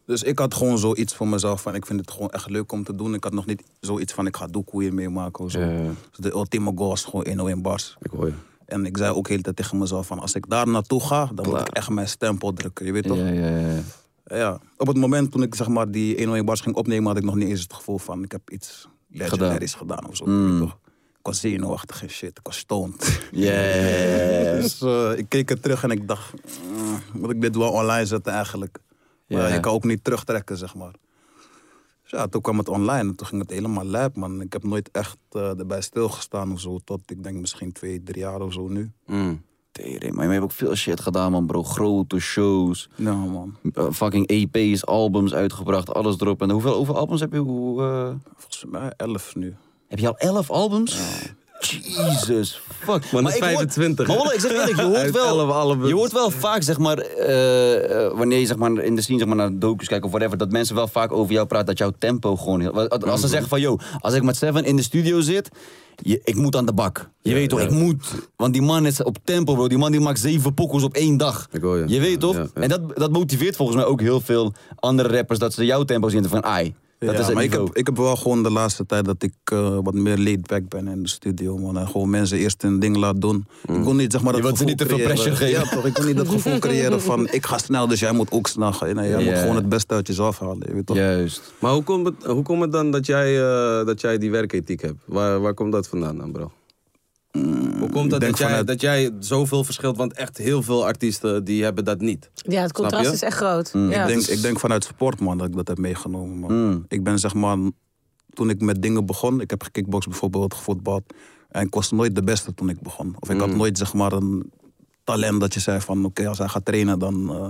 Dus ik had gewoon zoiets voor mezelf van ik vind het gewoon echt leuk om te doen. Ik had nog niet zoiets van ik ga doekoe hier meemaken of zo.
Ja.
Dus de ultieme goal was gewoon 1 in bars.
Ik hoor je.
En ik zei ook de hele tijd tegen mezelf van als ik daar naartoe ga, dan moet ik echt mijn stempel drukken, je weet toch?
Ja, ja, ja.
Eh, Ja, op het moment toen ik zeg maar die 101 bars ging opnemen, had ik nog niet eens het gevoel van ik heb iets legendaris gedaan, of zo.
Mm.
weet je toch? Ik was zenuwachtig en shit, ik was stoned.
Yeah.
Dus eh, ik keek er terug en ik dacht, mm, moet ik dit wel online zetten eigenlijk? Maar ja,
Ja.
je kan ook niet terugtrekken, zeg maar. Dus ja, toen kwam het online en toen ging het helemaal lijp, man. Ik heb nooit echt eh, erbij stilgestaan of zo, tot ik denk misschien twee, drie jaar of zo nu.
Mm.
Mm. Tering, maar je hebt ook veel shit gedaan, man, bro. Grote shows.
Ja, man.
eh, fucking EP's, albums uitgebracht, alles erop. En hoeveel, hoeveel albums heb je? Hoe, eh,
Volgens mij elf nu.
heb je al 11 albums? Jesus fuck.
Man, dat is
ik hoor-
25,
maar
hè?
wallah, ik zeg eerlijk, je hoort
Uit
wel,
11 albums.
je hoort wel vaak, zeg maar, eh, eh, wanneer je zeg maar, in de scene zeg maar, naar docu's kijkt of whatever, dat mensen wel vaak over jou praten, dat jouw tempo gewoon heel... wat- Als
Mhm.
ze zeggen van, yo, als ik met Seven in de studio zit, je- ik moet aan de bak. Je weet toch, ik moet. Want die man is op tempo, bro. Die man die maakt zeven pokkels op één dag.
Ik hoor je.
weet
Ja,
toch?
ja, ja.
En dat, dat motiveert volgens mij ook heel veel andere rappers, dat ze jouw tempo zien en van, ai, dat
Ja,
is het
maar ik
niveau.
heb, ik heb wel gewoon de laatste tijd dat ik eh, wat meer laid back ben in de studio, man. En gewoon mensen eerst een ding laat doen. Ik kon niet, zeg maar, dat
Mm. Je wilt ze
gevoel
niet te veel
creëren.
pressure geven.
Ja, toch. Ik kon niet dat gevoel creëren van, ik ga snel, dus jij moet ook snel gaan. Nee, jij
Ja.
moet gewoon het beste uit jezelf halen, je weet toch?
Juist.
Maar hoe komt het, hoe komt het dan dat jij, eh, dat jij die werkethiek hebt? Waar, waar komt dat vandaan dan, bro? Hoe komt
Mm, ik
dat
denk
dat jij,
vanuit-
dat jij zoveel verschilt? Want echt heel veel artiesten die hebben dat niet.
Ja, het contrast
je?
is echt groot. Ja.
Mm,
dus-
Ik, denk, ik denk vanuit sport, man, dat ik dat heb meegenomen, man. Ik ben, zeg maar, toen ik met dingen begon, ik heb gekickboxd bijvoorbeeld, gevoetbald. En ik was nooit de beste toen ik begon. Of ik had nooit, zeg maar, een talent dat je zei van, oké, als hij gaat trainen, dan eh,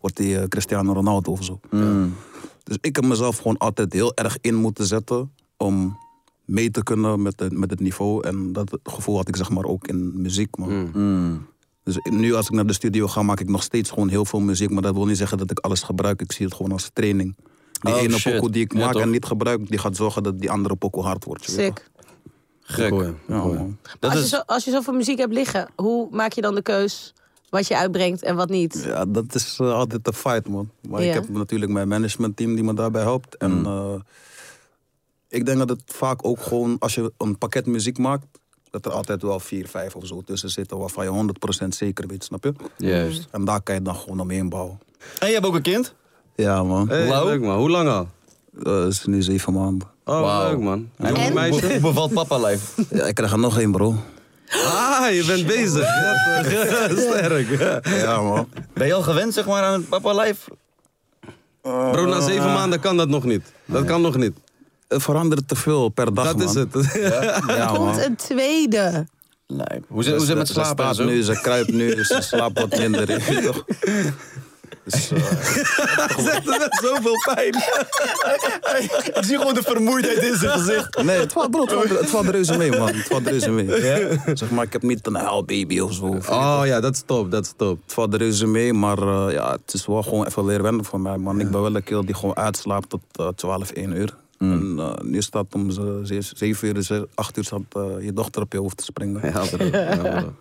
wordt hij eh, Cristiano Ronaldo of zo. Dus ik heb mezelf gewoon altijd heel erg in moeten zetten om mee te kunnen met het, met het niveau. En dat gevoel had ik zeg maar ook in muziek, man.
Hmm.
Dus nu als ik naar de studio ga, maak ik nog steeds gewoon heel veel muziek. Maar dat wil niet zeggen dat ik alles gebruik. Ik zie het gewoon als training. Die
Oh,
ene
shit.
pokoe die ik
Ja,
maak
toch?
en niet gebruik, die gaat zorgen dat die andere pokoe hard wordt. je weet toch?
Sick.
Gek.
Ja,
Oh,
man.
Maar Als, je zo, als je zoveel muziek hebt liggen, hoe maak je dan de keus wat je uitbrengt en wat niet?
Ja, dat is eh, altijd een fight, man. Maar
Ja.
ik heb natuurlijk mijn managementteam die me daarbij helpt. En eh, ik denk dat het vaak ook gewoon, als je een pakket muziek maakt, dat er altijd wel vier, vijf of zo tussen zitten waarvan je 100% zeker weet, snap je?
Juist.
En daar kan je dan gewoon Eh? omheen bouwen.
En je hebt ook een kind?
Ja, man.
Hey,
Lauw?
leuk man, hoe lang al?
Dat is nu zeven maanden.
Oh,
Wauw.
leuk man.
En
Jong
hoe-
meisje.
Hoe bevalt papa lijf?
Ja, ik krijg er nog één, bro.
Ah, je bent bezig. Sterk.
Ja, man.
Ben je al gewend zeg maar, aan het papa lijf?
Bro, na zeven maanden kan dat nog niet. Dat kan nog niet.
er verandert te veel per dag,
Dat
man.
is het.
Ja, man.
Komt een tweede.
Lijp. Hoe zit, hoe zit het met
Ze
slapen en
staat dus
zo?
nu, ze kruipt nu, ze slaapt wat minder. je weet toch? Dus, eh,
Zegt het met zoveel pijn.
Ik zie gewoon de vermoeidheid in zijn gezicht.
nee, het valt, bro, het, valt, het valt reuze mee, man. Het valt reuze mee. Zeg maar, ik heb niet een huilbaby of zo.
Oh ja, dat is top, dat is top.
Het valt reuze mee, maar eh, ja, het is wel gewoon even leren wennen voor mij, man. Ik ben wel een keel die gewoon uitslaapt tot eh, 12, 1 uur. En eh, nu staat om ze- ze- 7 uur, ze- 8 uur staat eh, je dochter op je hoofd te springen.
Ja, bro. Ja, bro.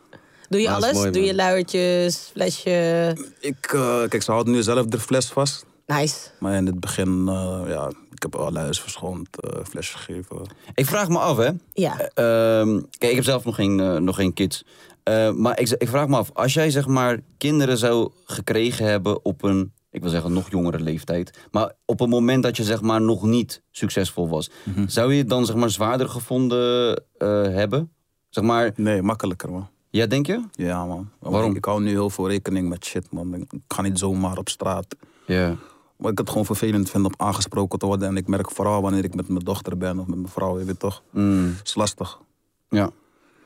Doe je
Ah, is
alles?
mooi,
Doe
man.
je luiertjes, flesje?
Ik, eh, kijk, ze houdt nu zelf de fles vast.
Nice.
Maar in het begin, eh, ja, ik heb alle huis verschoond, eh fles gegeven.
Ik vraag me af, hè.
Ja.
Ehm, kijk, ik heb zelf nog geen, eh, nog geen kids. Eh, maar ik, ik vraag me af, als jij zeg maar kinderen zou gekregen hebben op een, ik wil zeggen nog jongere leeftijd, maar op een moment dat je zeg maar nog niet succesvol was, zou je het dan zeg maar zwaarder gevonden eh, hebben? Zeg maar,
Nee, makkelijker, man.
ja denk je?
Ja, man. Want
Waarom?
Ik, ik hou nu heel veel rekening met shit, man. Ik ik ga niet zomaar op straat.
Ja.
Maar ik het gewoon vervelend vind om aangesproken te worden. En ik merk vooral wanneer ik met mijn dochter ben of met mijn vrouw, je weet toch. is lastig.
Ja.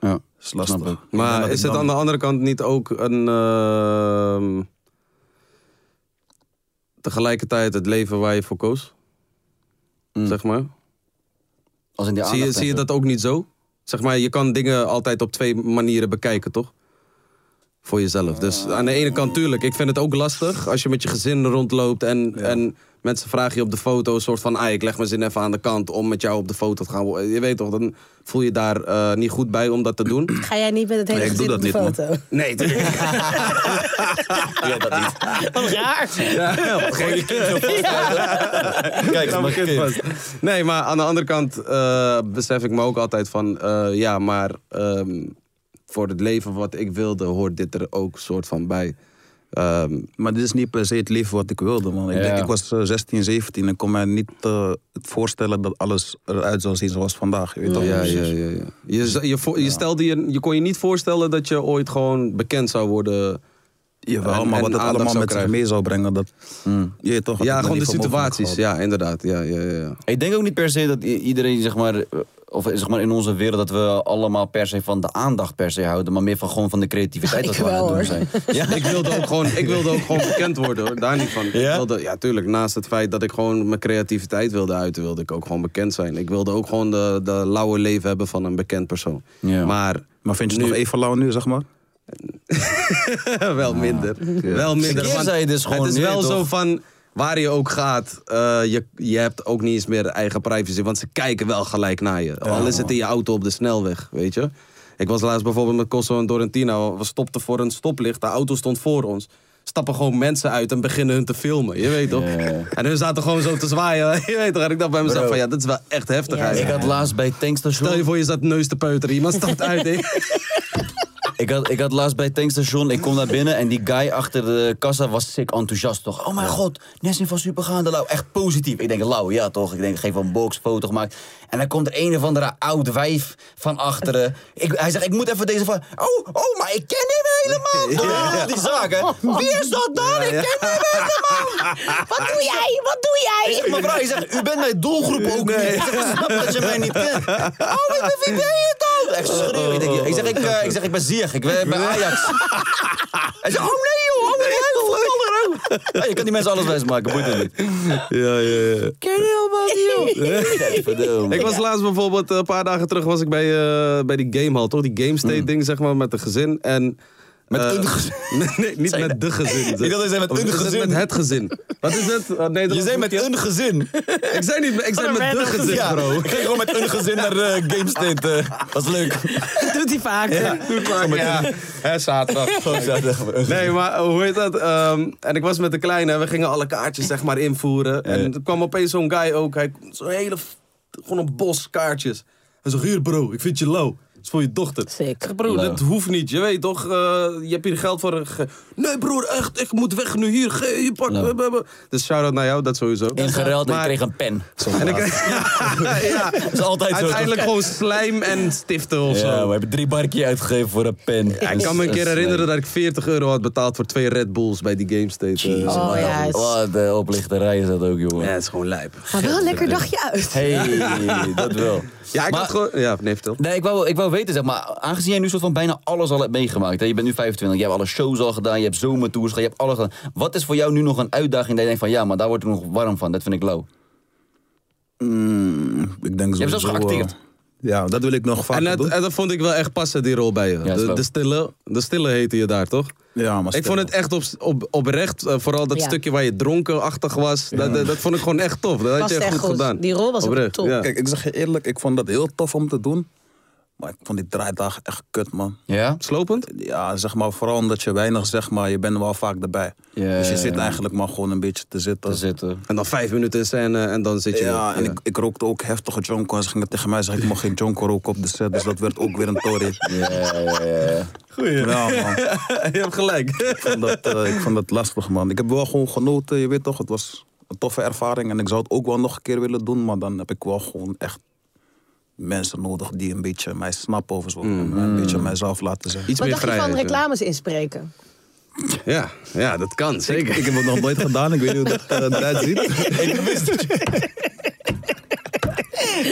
Ja.
is lastig.
Snap ik.
Ik denk
Maar
dat
is
ik
het
dan-
aan de andere kant niet ook een. ehm, tegelijkertijd het leven waar je voor koos? Zeg maar.
Als in die
Zie je,
aandacht en
zie je
zo.
dat ook niet zo? Zeg maar, je kan dingen altijd op twee manieren bekijken, toch? Voor jezelf. Dus aan de ene kant, tuurlijk, ik vind het ook lastig als je met je gezin rondloopt en, en mensen vragen je op de foto een soort van, ah, ik leg mijn zin even aan de kant om met jou op de foto te gaan. Je weet toch, dan voel je daar eh, niet goed bij om dat te doen.
Ga jij niet met het hele
Nee, ik doe
gezin op de
dat niet,
foto?
Nee, tuurlijk.
Ja, dat niet.
Wat raar.
Geen Kijk,
Ja,
dat mag
begint
kind.
vast. Nee, maar aan de andere kant eh, besef ik me ook altijd van... eh, ja, maar ehm, voor het leven wat ik wilde hoort dit er ook soort van bij. Ehm,
Maar dit is niet per se het leven wat ik wilde, man. Ik,
Ja.
denk, ik was eh, 16, 17 en kon mij niet eh, het voorstellen dat alles eruit zou zien zoals vandaag. Je weet toch?
ja,
Dus-
ja, ja, ja. Je, z- je, vo- je, stelde je, je kon je niet voorstellen dat je ooit gewoon bekend zou worden...
Jawel,
En-
maar
en
wat het
aandacht
allemaal
zou
met zich
krijgen.
mee zou brengen, dat... Je weet toch, had ik
Ja,
me
gewoon de
niet voor mogelijk
situaties.
gehouden.
Ja, inderdaad. Ja, ja, ja, ja.
Ik denk ook niet per se dat i- iedereen, zeg maar, eh, of zeg maar in onze wereld, dat we allemaal per se van de aandacht per se houden, maar meer van gewoon van de creativiteit wat
Ik
we aan het
wel,
doen
hoor.
zijn. Ja,
Ik wilde ook gewoon, ik wilde ook gewoon bekend worden, hoor. daar niet van. Ik wilde, ja, tuurlijk. Naast het feit dat ik gewoon mijn creativiteit wilde uiten, wilde ik ook gewoon bekend zijn. Ik wilde ook gewoon de, de lauwe leven hebben van een bekend persoon.
Ja.
Maar
Maar vind je het
Nu-
nog even lauw nu, zeg maar?
wel minder. Wel minder. want
Verkeerszijde is gewoon
het is
nu,
wel
toch?
zo van, waar je ook gaat, eh, je, je hebt ook niet eens meer eigen privacy. Want ze kijken wel gelijk naar je. Al is het in je auto op de snelweg, weet je. Ik was laatst bijvoorbeeld met Kosso en Dorentino. We stopten voor een stoplicht. De auto stond voor ons. Stappen gewoon mensen uit en beginnen hun te filmen. Je weet toch? En hun zaten gewoon zo te zwaaien. Je weet toch? En ik dacht bij mezelf: van ja, dit is wel echt heftig.
Ja,
eigenlijk.
ik had laatst bij het
Stel je
tankstation.
voor, je zat neus te peuteren. Iemand stapt uit. hè?
Ik had, ik had laatst bij het tankstation. Ik kom naar binnen en die guy achter de kassa was sick enthousiast toch. Oh mijn god, Nessin van Supergaande Lau. Echt positief. Ik denk, Lau, ja toch. Ik denk, geef wel een boxfoto gemaakt. En dan komt er een of andere oud wijf van achteren. Ik, hij zegt, ik moet even deze van. Oh, oh, maar ik ken hem helemaal. toch? Die zaak, hè. Wie is dat dan? Ik ken hem helemaal.
Wat doe jij? Wat doe jij?
Ik zeg, mevrouw, je zegt, u bent mijn doelgroep ook niet. Ik zeg, snap dat je mij niet kent. Oh, ik ben, wie ben je dan? Echt schreeuw. Ik, denk, ik, zeg, ik, eh, ik zeg, ik ben Ziyech, ik ben bij Ajax. Hij zegt, oh nee joh, oh nee, joh, verdomme, joh. Oh, Je kan die mensen alles wijsmaken, boeit het niet.
ja, ja, ja.
Ken je helemaal niet joh.
Ik was laatst bijvoorbeeld, eh, een paar dagen terug was ik bij, eh, bij die gamehall, toch? Die GameState ding, zeg maar, met een gezin. En,
Mm. Met
eh,
een gezin?
Nee, nee, niet met de gezin.
Ik dacht dat je zei met
Of
een
is het
gezin.
Met het gezin. Wat is het? Eh, nee, dat
Je
was-
zei met een gezin.
Ik zei niet, ik zei
een
met de
random
gezin,
Ja,
bro.
ik ging gewoon met een gezin naar eh, GameState. eh. was leuk.
Doet hij vaak.
Doe het maar, ja. Hè, zaterdag.
Gewoon zo, zeg maar, een gezin.
Nee, maar eh, hoe heet dat? Ehm, en ik was met de kleine, we gingen alle kaartjes zeg maar invoeren. En er kwam opeens zo'n guy ook, hij zo'n hele, f- gewoon een bos kaartjes. Hij zegt, hier bro, ik vind je low. is voor je dochter.
Sick.
Zeg, broer, dat hoeft niet. Je weet toch, eh, je hebt hier geld voor. ge- Nee broer, echt, ik moet weg nu hier. Ge- je pak.
Ja.
blablabla. Dus shout-out naar jou, dat sowieso.
Ingereld en ik
Maar-
kreeg een pen.
En ik, ja,
Dat is altijd zo.
uiteindelijk gewoon slijm en stiften of
Ja, we
zo.
hebben drie barkie uitgegeven voor een pen.
Ja, ik kan me een keer herinneren dat ik 40 euro had betaald voor twee Red Bulls bij die GameState. eh.
Oh,
Wat-
ja, is-
Wat een oplichterij is dat ook, jongen.
Ja, het is gewoon lijp.
Ga wel een lekker dagje uit.
Hey, dat wel.
Ja, ik
Maar-
had gewoon... Ja, nee, vertel.
Nee, ik wou, ik wou weten, zeg maar, aangezien jij nu soort van bijna alles al hebt meegemaakt. Hè? Je bent nu 25, je hebt alle shows al gedaan, je hebt zomertours gedaan, je hebt alles gedaan. Wat is voor jou nu nog een uitdaging dat je denkt van, ja, maar daar word ik nog warm van, dat vind ik lauw.
Ik denk
Je hebt zelfs
sowieso,
geacteerd.
eh, ja, dat wil ik nog vaker
En dat,
doen.
en dat vond ik wel echt passen, die rol bij je.
is
de,
wel.
de, stille, de stille heette je daar, toch?
ja, maar nou.
Ik vond het echt op, op, oprecht, eh, vooral dat
Ja.
stukje waar je dronkenachtig was. Dat, dat, dat vond ik gewoon echt tof. Dat had
Was
je echt
echt
goed
goed.
gedaan.
Die rol was ook
Oprecht,
top.
ja.
Kijk, ik zeg je eerlijk, ik vond dat heel tof om te doen. Maar ik vond die draaidagen echt kut, man.
Ja?
Slopend?
Ja, zeg maar, vooral omdat je weinig zeg maar, je bent wel vaak erbij.
Ja,
dus je
ja,
zit
ja.
eigenlijk maar gewoon een beetje te zitten.
Te zitten.
En dan vijf minuten in scène en dan zit je
Ja,
weer.
en ik, ik rookte ook heftige jonko. En ze gingen tegen mij zeggen, ik mag geen jonko roken op de set. Dus dat werd ook weer een tory.
Ja, ja, ja, ja.
Ja, man.
je hebt gelijk.
Ik vond, dat, eh, ik vond dat lastig, man. Ik heb wel gewoon genoten, je weet toch. Het was een toffe ervaring. En ik zou het ook wel nog een keer willen doen. Maar dan heb ik wel gewoon echt mensen nodig die een beetje mij snappen of zo. En Een beetje mijzelf laten zijn.
Iets
Wat
meer
dacht je
vrijheid.
van
ja.
reclames inspreken?
Ja, ja, dat kan, zeker.
Ik heb het nog nooit gedaan. Ik weet niet hoe dat eh, eruit ziet.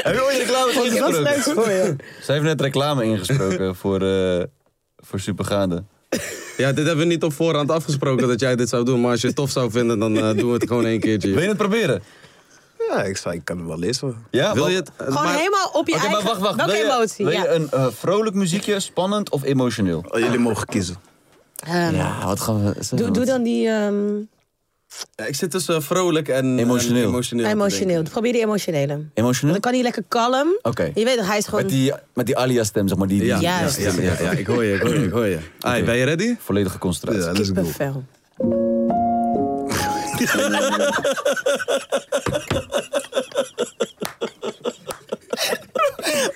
Heb je ooit reclame
Dat is leuk
ingesproken?
voor je.
Ze heeft net reclame ingesproken voor, eh, voor Supergaande.
Ja, dit hebben we niet op voorhand afgesproken dat jij dit zou doen. Maar als je het tof zou vinden, dan eh, doen we het gewoon één
Wil
keertje.
je het proberen?
Ja, ik zei, ik kan het wel lezen.
Ja,
Wil
wat-
je het? eh,
Gewoon
maar-
helemaal op je
Oké,
eigen...
maar wacht, wacht.
Welke
wil je,
emotie?
Wil je
ja.
een eh, vrolijk muziekje, spannend of emotioneel?
Oh, jullie mogen kiezen.
Ehm,
Ja, wat gaan we...
doe, doe dan die ehm,
Ik zit tussen vrolijk en
Emotioneel.
en emotioneel. te
emotioneel. Probeer die emotionele. Want
Emotioneel?
Dan kan hij lekker kalm.
Oké.
Je weet toch, hij is gewoon...
Met die, met die alias-stem, zeg maar. Die, die
denken. Ja, ja,
Juist.
ja, ja, ja, ik hoor je, ik hoor je, ik hoor je. Ai, ben je ready?
volledige concentratie.
Ja, let's go.
Kippenvel.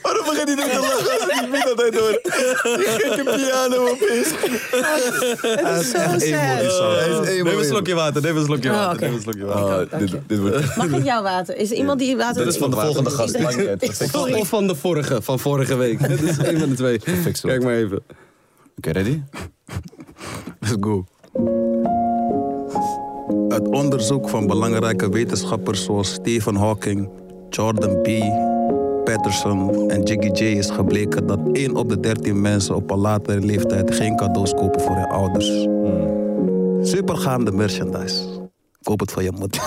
Waarom begint hij te lachen als ik niet dat hij door? Gekke piano op is.
Het is zo sad.
Neem een slokje water, neem een slokje
Ah,
Oh,
water.
oké.
Neem een slokje water.
dit, dit wordt...
Mag ik jouw water? Is er iemand die water...
Dit is van de volgende gast.
Is er-
Maakt niet uit.
is er-
Van- Of van de vorige, van vorige week. Dit is één van de twee.
Fix wel.
Kijk maar even.
Oké, ready?
Let's go. Het onderzoek van belangrijke wetenschappers zoals Stephen Hawking, Jordan B. Patterson en Jiggy J is gebleken dat 1 op de 13 mensen op een latere leeftijd geen cadeaus kopen voor hun ouders. Supergaande merchandise. Koop het voor je moeder.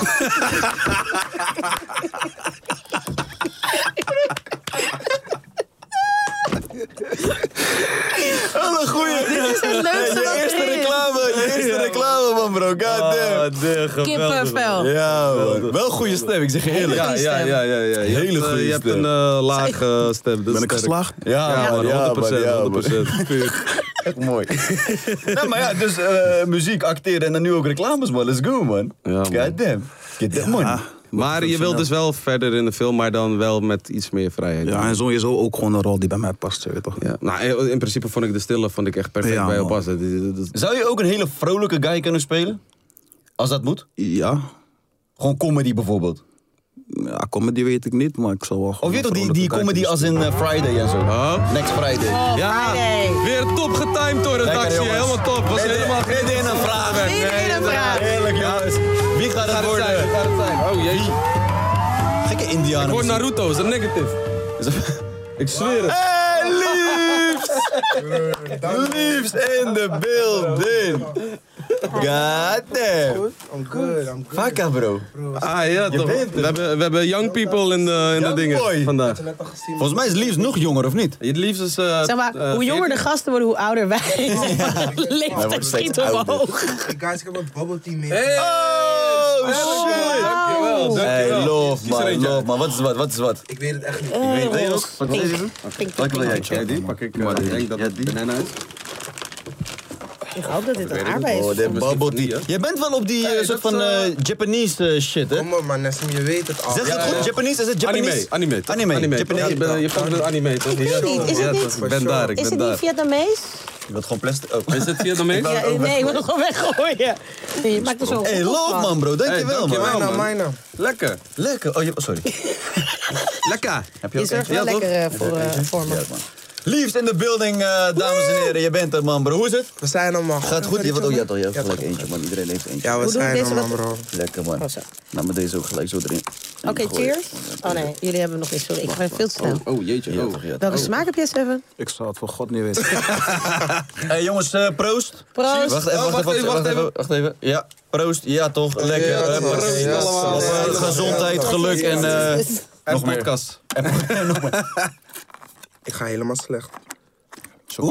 Alle goeie.
Dit is het leukste wat er is.
je eerste reclame, man, bro. God
Ah,
damn.
Kippenvel.
Ja, man. Wel goede stem, ik zeg je eerlijk.
Ja, ja, ja, ja, ja. Je
Hele
hebt, eh,
goede
Je hebt
stem.
een eh, lage stem. dus
Ben ik
sterk.
geslaagd?
Ja,
Ja,
man,
man,
ja,
100%.
man, ja, man.
100%.
Echt mooi. nee, maar ja, dus eh, muziek, acteren en dan nu ook reclames, man. Let's go, man.
Ja, man.
God damn. Get that money.
Maar je wil dus wel verder in de film, maar dan wel met iets meer vrijheid.
Ja, en sowieso ook gewoon een rol die bij mij past, je weet toch?
Ja. Nou, in principe vond ik de stille vond ik echt perfect
Ja,
bij jou
man.
passen. Dit- dit- dit-
Zou je ook een hele vrolijke guy kunnen spelen? Als dat moet?
Ja,
Gewoon comedy bijvoorbeeld.
ja comedy weet ik niet, maar ik zal wel
Of
gewoon
weet toch, die,
vrolijke
die
kijken.
comedy als in eh, Friday en zo.
Oh.
Next Friday.
Ja,
Friday.
weer top getimed door de redactie.
jongens.
Helemaal top. Was
Dit-
helemaal geen
dit in een vraag.
Dit in een vraag.
Heerlijk, jongens. Wie gaat het worden?
zijn, gaat het zijn. Oh jee.
Gekke Indianen.
Ik hoor Naruto, is een negative. Ik zweer het.
Hey, liefst! liefst in de building! God damn!
I'm good. I'm good.
Vaka, bro.
Ah ja, toch.
bent
We hebben, we hebben young people in de, in de
Young
dingen
boy.
vandaag.
Net al gezien.
Volgens mij is liefst nog jonger, of niet?
Het liefst is... eh,
Zeg maar,
eh,
hoe jonger de
14.
gasten worden, hoe ouder wij. Leeftijd
wordt
schiet
steeds ouder.
omhoog.
Hey guys, ik heb wat bubble tea mee.
Oh,
Hey, Dankjewel, dankjewel.
Hey, love
Kies er
man,
eentje.
love man. Wat is wat, wat is wat?
Ik weet het echt niet.
Weet je ook? Wat is deze?
Pink, pink,
Welke wil
pink.
jij? Jij die?
Pak ik, eh, ik denk dat
Ja, die.
banana is.
Ik hoop dat dit een aardbei
Oh,
is.
de bubble
van die,
tea.
hè?
Jij bent wel op die eh,
Hey,
soort
dat,
van
eh,
eh, Japanese eh, shit, hè?
Kom op, man, Nessim, je weet het al.
Zeg het goed, Japanese? Is het Japanese?
Anime, anime. toch?
Anime,
toch? Ja,
Japanese.
ik ben- je pakt het anime, toch?
weet
Ja,
niet, is het
ja,
niet?
toch? Ik ben daar, ik
Is
ben
het niet
daar.
Vietnamees?
Je wordt gewoon plastic. Oh.
Is het Vietnamese?
Ja, nee, ik wil het gewoon weggooien. Nee, je maakt er zo
Hey, love man, bro.
Hey,
Dankjewel,
dankjewel. man.
man.
Mijna, mijna.
Lekker,
Lekker. Oh, je, oh, sorry.
lekker.
Heb je
Je
ook
zorgt wel
eentje? Ja, toch?
lekker eh, voor, eh, voor me.
Liefst in de building, eh, dames en heren. Je bent er, man, bro. Hoe is het?
We zijn allemaal
Gaat goed? Je wordt ook ja, toch? Je hebt
Ja,
gelijk
toch.
eentje, man. Iedereen heeft eentje.
Ja, we
Hoe doen we
zijn
deze
allemaal,
wat-
bro.
Lekker, man.
Oh, zo.
Nou, maar deze ook gelijk zo erin.
Oké, cheers. Oh nee, jullie hebben nog niet. Sorry, ik ga veel te snel.
Oh, jeetje. Oh.
Welke smaak heb jij, Seven?
Ik zou het voor God niet weten.
Hé, jongens, eh, proost.
Proost.
Wacht
Oh,
even, wacht even, wacht even. Wacht even. Ja, proost. Ja, toch. Lekker.
Ja,
Eh,
toch.
proost.
Ja,
allemaal.
toch.
Eh, Gezondheid, geluk en... eh,
En
nog meer.
podcast.
Ik ga helemaal slecht.
Oeh,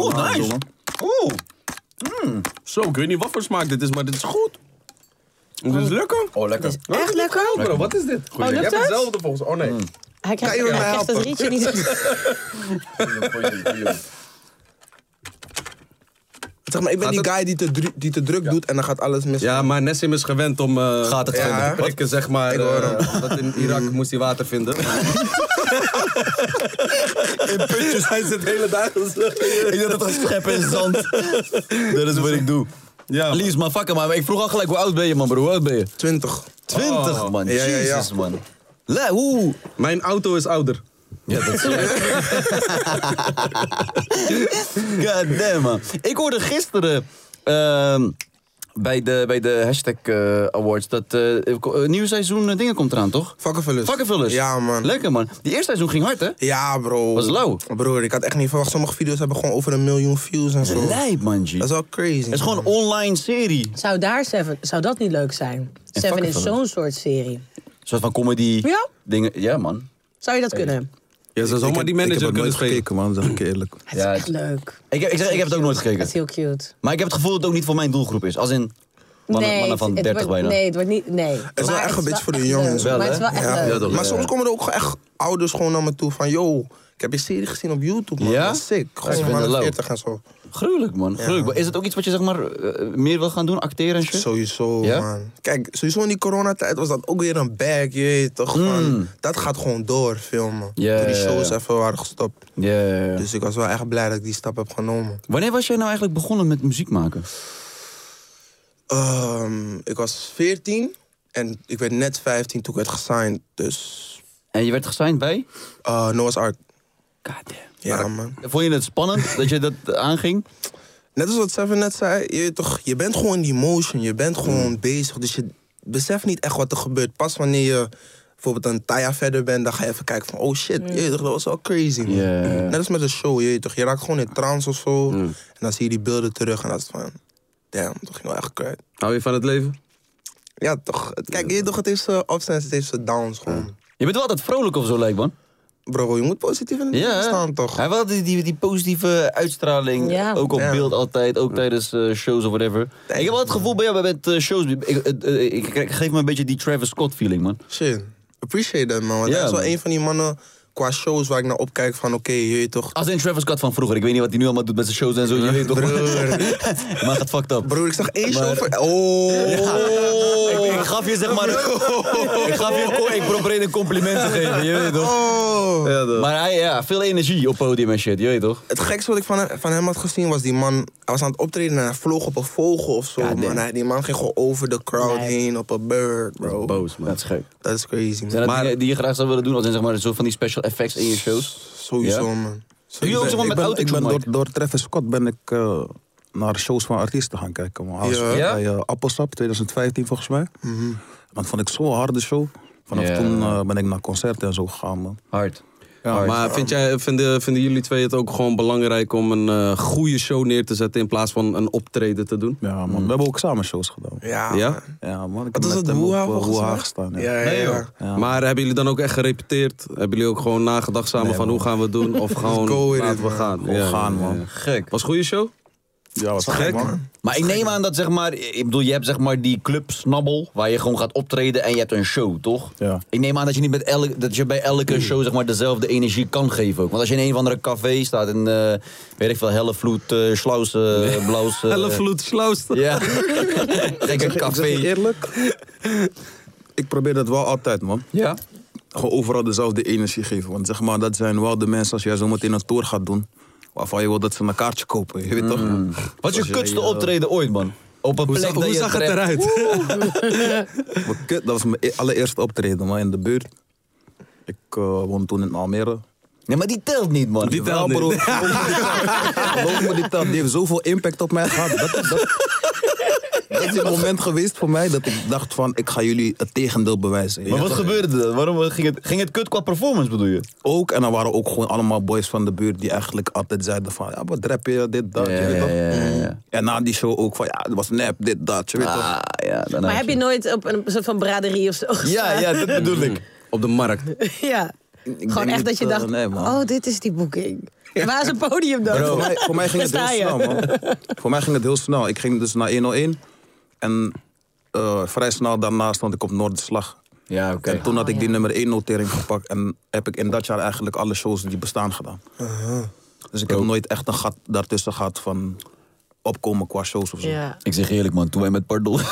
Chocolade,
nice.
jongen.
Oeh.
Zo, ik weet niet wat voor smaak dit is, maar dit is goed. Dit is lekker.
Oh, lekker.
Echt lekker?
Bro, wat is dit?
lukt
Je hebt
het?
hetzelfde volgens Oh nee.
Hij krijgt,
Kan je me
hij krijgt dat
helpen?
rietje niet.
Zeg maar, ik ben
Gaat
die guy die te, dru- die te druk doet en dan gaat alles mis.
Ja, maar Nessim is gewend om eh
Gaat het
ja,
vinden.
te prikken, zeg maar.
Ik hoor hem.
eh, want in Irak moest hij water vinden. in putjes. Hij zit de hele dag als-
Ik dacht dat het schep in zand. dat is wat ik doe.
Ja, man.
Lies, man, fuck hem, man. Ik vroeg al gelijk, hoe oud ben je, man, bro? Hoe oud ben je? Oh,
20.
Twintig, man.
Ja, ja, ja.
Jezus, man. Le, hoe?
Mijn auto is ouder.
Ja, dat is God damn, man. Ik hoorde gisteren... ehm, bij de, bij de hashtag eh, awards dat eh, een nieuw seizoen eh, dingen komt eraan, toch?
Vakkenvullers.
Vakkenvullers.
Ja, man.
Lekker, man. Die eerste seizoen ging hard, hè?
Ja, bro.
Was lauw.
Broer, ik had echt niet verwacht. Sommige video's hebben gewoon over een miljoen views en zo.
Lijp, man, G.
Dat is wel crazy.
Het is gewoon een online serie. Een
Zou daar Seven, zou dat niet leuk zijn? Seven is
vakkenvullers.
zo'n soort serie.
soort van comedy
Ja?
dingen. Ja, man.
Zou je dat kunnen?
Je zou zomaar die
ik heb
manager
het
kunnen
nooit
spelen.
gekeken, man, zeg ik je eerlijk.
Het is
Ja,
echt
het-
leuk.
Ik heb, ik, zeg, ik heb het ook nooit
Dat is
gekeken.
heel cute.
Maar ik heb het gevoel dat het ook niet voor mijn doelgroep is. Als in mannen, mannen van
het- het
30
wordt-
bijna.
Nee, het wordt niet. Nee. Maar Het
wel echt een beetje voor de
echt
jongens.
leuk.
Wel,
Maar het is wel echt
Ja.
leuk.
toch?
maar soms komen er ook gewoon echt ouders gewoon naar me toe van... yo, ik heb je serie gezien op YouTube, man.
Ja?
Dat is sick.
ik
Gewoon
vind het
man
leuk.
40 en zo.
Gruwelijk, man. Gruwelijk. Maar Is het ook iets wat je zeg maar eh, meer wil gaan doen? Acteren en shit?
Sowieso,
Ja?
man. Kijk, sowieso in die coronatijd was dat ook weer een bag, je weet toch? Van, dat gaat gewoon door, filmen.
Ja,
Toen die
ja, ja.
shows even waren gestopt.
Ja, ja, ja.
Dus ik was wel echt blij dat ik die stap heb genomen.
Wanneer was jij nou eigenlijk begonnen met muziek maken?
Ehm, ik was 14 en ik werd net 15 toen ik werd gesigned. Dus
En je werd gesigned bij?
eh, Noah's Ark.
God damn.
Ja, man.
Vond je het spannend dat je dat aanging?
Net als wat Seven net zei, je, weet toch, je bent gewoon in die motion. Je bent gewoon
Mm.
bezig. Dus je beseft niet echt wat er gebeurt. Pas wanneer je bijvoorbeeld een taya verder bent, dan ga je even kijken van... Oh shit, je weet toch, dat was wel crazy, man.
Ja. Mm.
Net als met een show, je weet toch. Je raakt gewoon in trance of zo. En dan zie je die beelden terug en dat is van... Damn, dat ging wel echt kwijt.
Hou je van het leven?
Ja, toch. het- Kijk, je weet toch, het heeft zijn ups en het heeft zijn downs gewoon.
Je bent wel altijd vrolijk of zo, lijkt man.
Bro, je moet positief in het
Ja,
leven
hè?
staan, toch?
Hij had altijd die, die positieve uitstraling.
Ja.
Ook op
Ja.
beeld altijd, ook tijdens eh, shows of whatever. Ik heb wel het gevoel bij jou met eh, shows. Ik, het- eh, ik krijg- geef me een beetje die Travis Scott feeling, man.
Shit. Appreciate that, man. Want
Ja,
hij is wel
man.
een van die mannen qua shows waar ik naar opkijk van... Oké, je weet toch...
Als in Travis Scott van vroeger. Ik weet niet wat hij nu allemaal doet met zijn shows en zo. Je weet toch
Broer.
Maar gaat fucked up.
Broer, ik zag één
Maar-
show voor... Oh.
Ik, ik gaf je zeg maar. ik gaf je. een co- Ik probeer een compliment te geven, je weet toch?
Oh.
Maar hij, ja, veel energie op podium en shit, je weet toch?
Het gekste wat ik van, van hem had gezien was die man... Hij was aan het optreden en hij vloog op een vogel of zo.
Ja, damn.
man. Hij- die man ging gewoon over de crowd heen op een bird, bro.
Boos, man. Dat is gek.
Dat is crazy,
Zijn
man.
dat
Maar
dingen die je graag zou willen doen? Als in zeg maar, zo van die special effects in je shows?
sowieso,
Ja?
man.
Doe je ook zo
Ik
met
ben-
auto's,
ik ben
Mike?
door, door Travis Scott ben ik eh, naar shows van artiesten gaan kijken. Man. Hij was
Ja. Mhm.
bij eh, Appelsap 2015 volgens mij. Want vond ik zo'n harde show. Vanaf
Ja.
toen eh, ben ik naar concerten en zo gegaan. Man.
Hard.
Maar vind jij, vinden, vinden jullie twee het ook gewoon belangrijk om een eh, goede show neer te zetten in plaats van een optreden te doen?
Ja, man. We hebben ook samen shows gedaan.
Ja.
Ja?
man.
Ja, man. Ik
Mhm. Wat
heb
is
met
het?
hem op,
Woeha
eh,
volgens
Woeha
mij?
gestaan.
Ja, ja,
Nee,
ja.
joh.
Maar hebben jullie dan ook echt gerepeteerd? Hebben jullie ook gewoon nagedacht samen van hoe gaan we het doen? Of gewoon
go with
laten
it,
we
man.
gaan?
Gewoon gaan, man.
Gek.
Was een goede show?
Ja, wat
Gek, man.
Maar ik neem aan dat zeg maar, ik bedoel, je hebt zeg maar die clubsnabbel waar je gewoon gaat optreden en je hebt een show, toch?
Ja.
Ik neem aan dat je niet met elke, dat je bij elke show zeg maar dezelfde energie kan geven ook. Want als je in een of andere café staat en eh, weet ik veel, hellevloed, eh slaus, eh blaus. eh,
Hellevloed Slooster.
Ja. Gekke
Ik zeg je
café.
eerlijk, ik probeer dat wel altijd, man.
Ja.
Gewoon overal dezelfde energie geven. Want zeg maar, dat zijn wel de mensen als jij zo meteen een tour gaat doen. Waarvan je wil dat ze een kaartje kopen, je weet toch?
Mm. Wat is
Als
je
jij,
kutste
eh,
optreden ooit, man? Op een
Hoe,
plek
zag-
dat
hoe
je
zag het
terecht-
eruit?
Mijn kut, dat was mijn e- allereerste optreden, man, in de buurt. Ik eh woon toen in Almere.
Nee, maar die telt niet, man.
Die telt
Wel,
niet.
bro. Geloof me, die telt. Die heeft zoveel impact op mij gehad. Dat, dat, dat is het moment geweest voor mij dat ik dacht van, ik ga jullie het tegendeel bewijzen.
Maar wat gebeurde er? Waarom eh, ging het, ging het kut qua performance, bedoel je?
Ook, en er waren ook gewoon allemaal boys van de buurt die eigenlijk altijd zeiden van, ja, wat rap je, dit, dat, je weet toch? En na die show ook van, ja, het was nep, dit, dat, je weet toch?
Ah, ja, daarna
Maar heb je nooit op een soort van braderie of zo
Ja,
gestaan?
ja, dat bedoel ik.
Op de markt.
Ja. Gewoon
denk
echt
niet,
dat je
eh,
dacht,
nee, man.
oh, dit is die boeking. Waar is een podium dan?
voor, mij, voor mij ging het
Daar
heel
sta je.
snel, man. Voor mij ging het heel snel. Ik ging dus naar 101. En eh, vrij snel daarna stond ik op Noorderslag.
Ja, oké.
En toen had ik die
Oh,
nummer 1 notering gepakt. En heb ik in dat jaar eigenlijk alle shows die bestaan gedaan.
Uh-huh.
Dus ik heb nooit echt een gat daartussen gehad van opkomen qua shows of zo.
Ja.
Ik zeg eerlijk, man, toen wij met Pardon.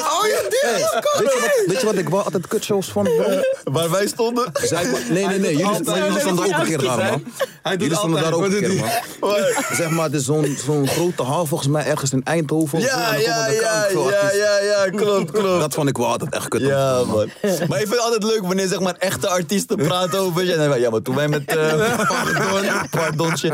Oh ja, dit is
Weet, je wat, weet je wat ik wel altijd kutshows vond? bro?
Waar wij stonden.
Zij- nee, nee, nee. Jullie, maar jullie stonden daar ook een keer aan, man. Jullie stonden daar ook een keer, man. Zeg maar, het is zo'n zo'n grote hal volgens mij ergens in Eindhoven. of zo. En
Ja,
dan
ja,
komen
ja,
er kanker-
ja, ja, ja, klopt, klopt.
Dat vond ik wel altijd echt kut. om te
Ja,
doen,
man. Maar ik vind het altijd leuk wanneer zeg maar echte artiesten praten over. Ja, nee, maar- ja, maar toen wij met. eh, pardon, pardontje.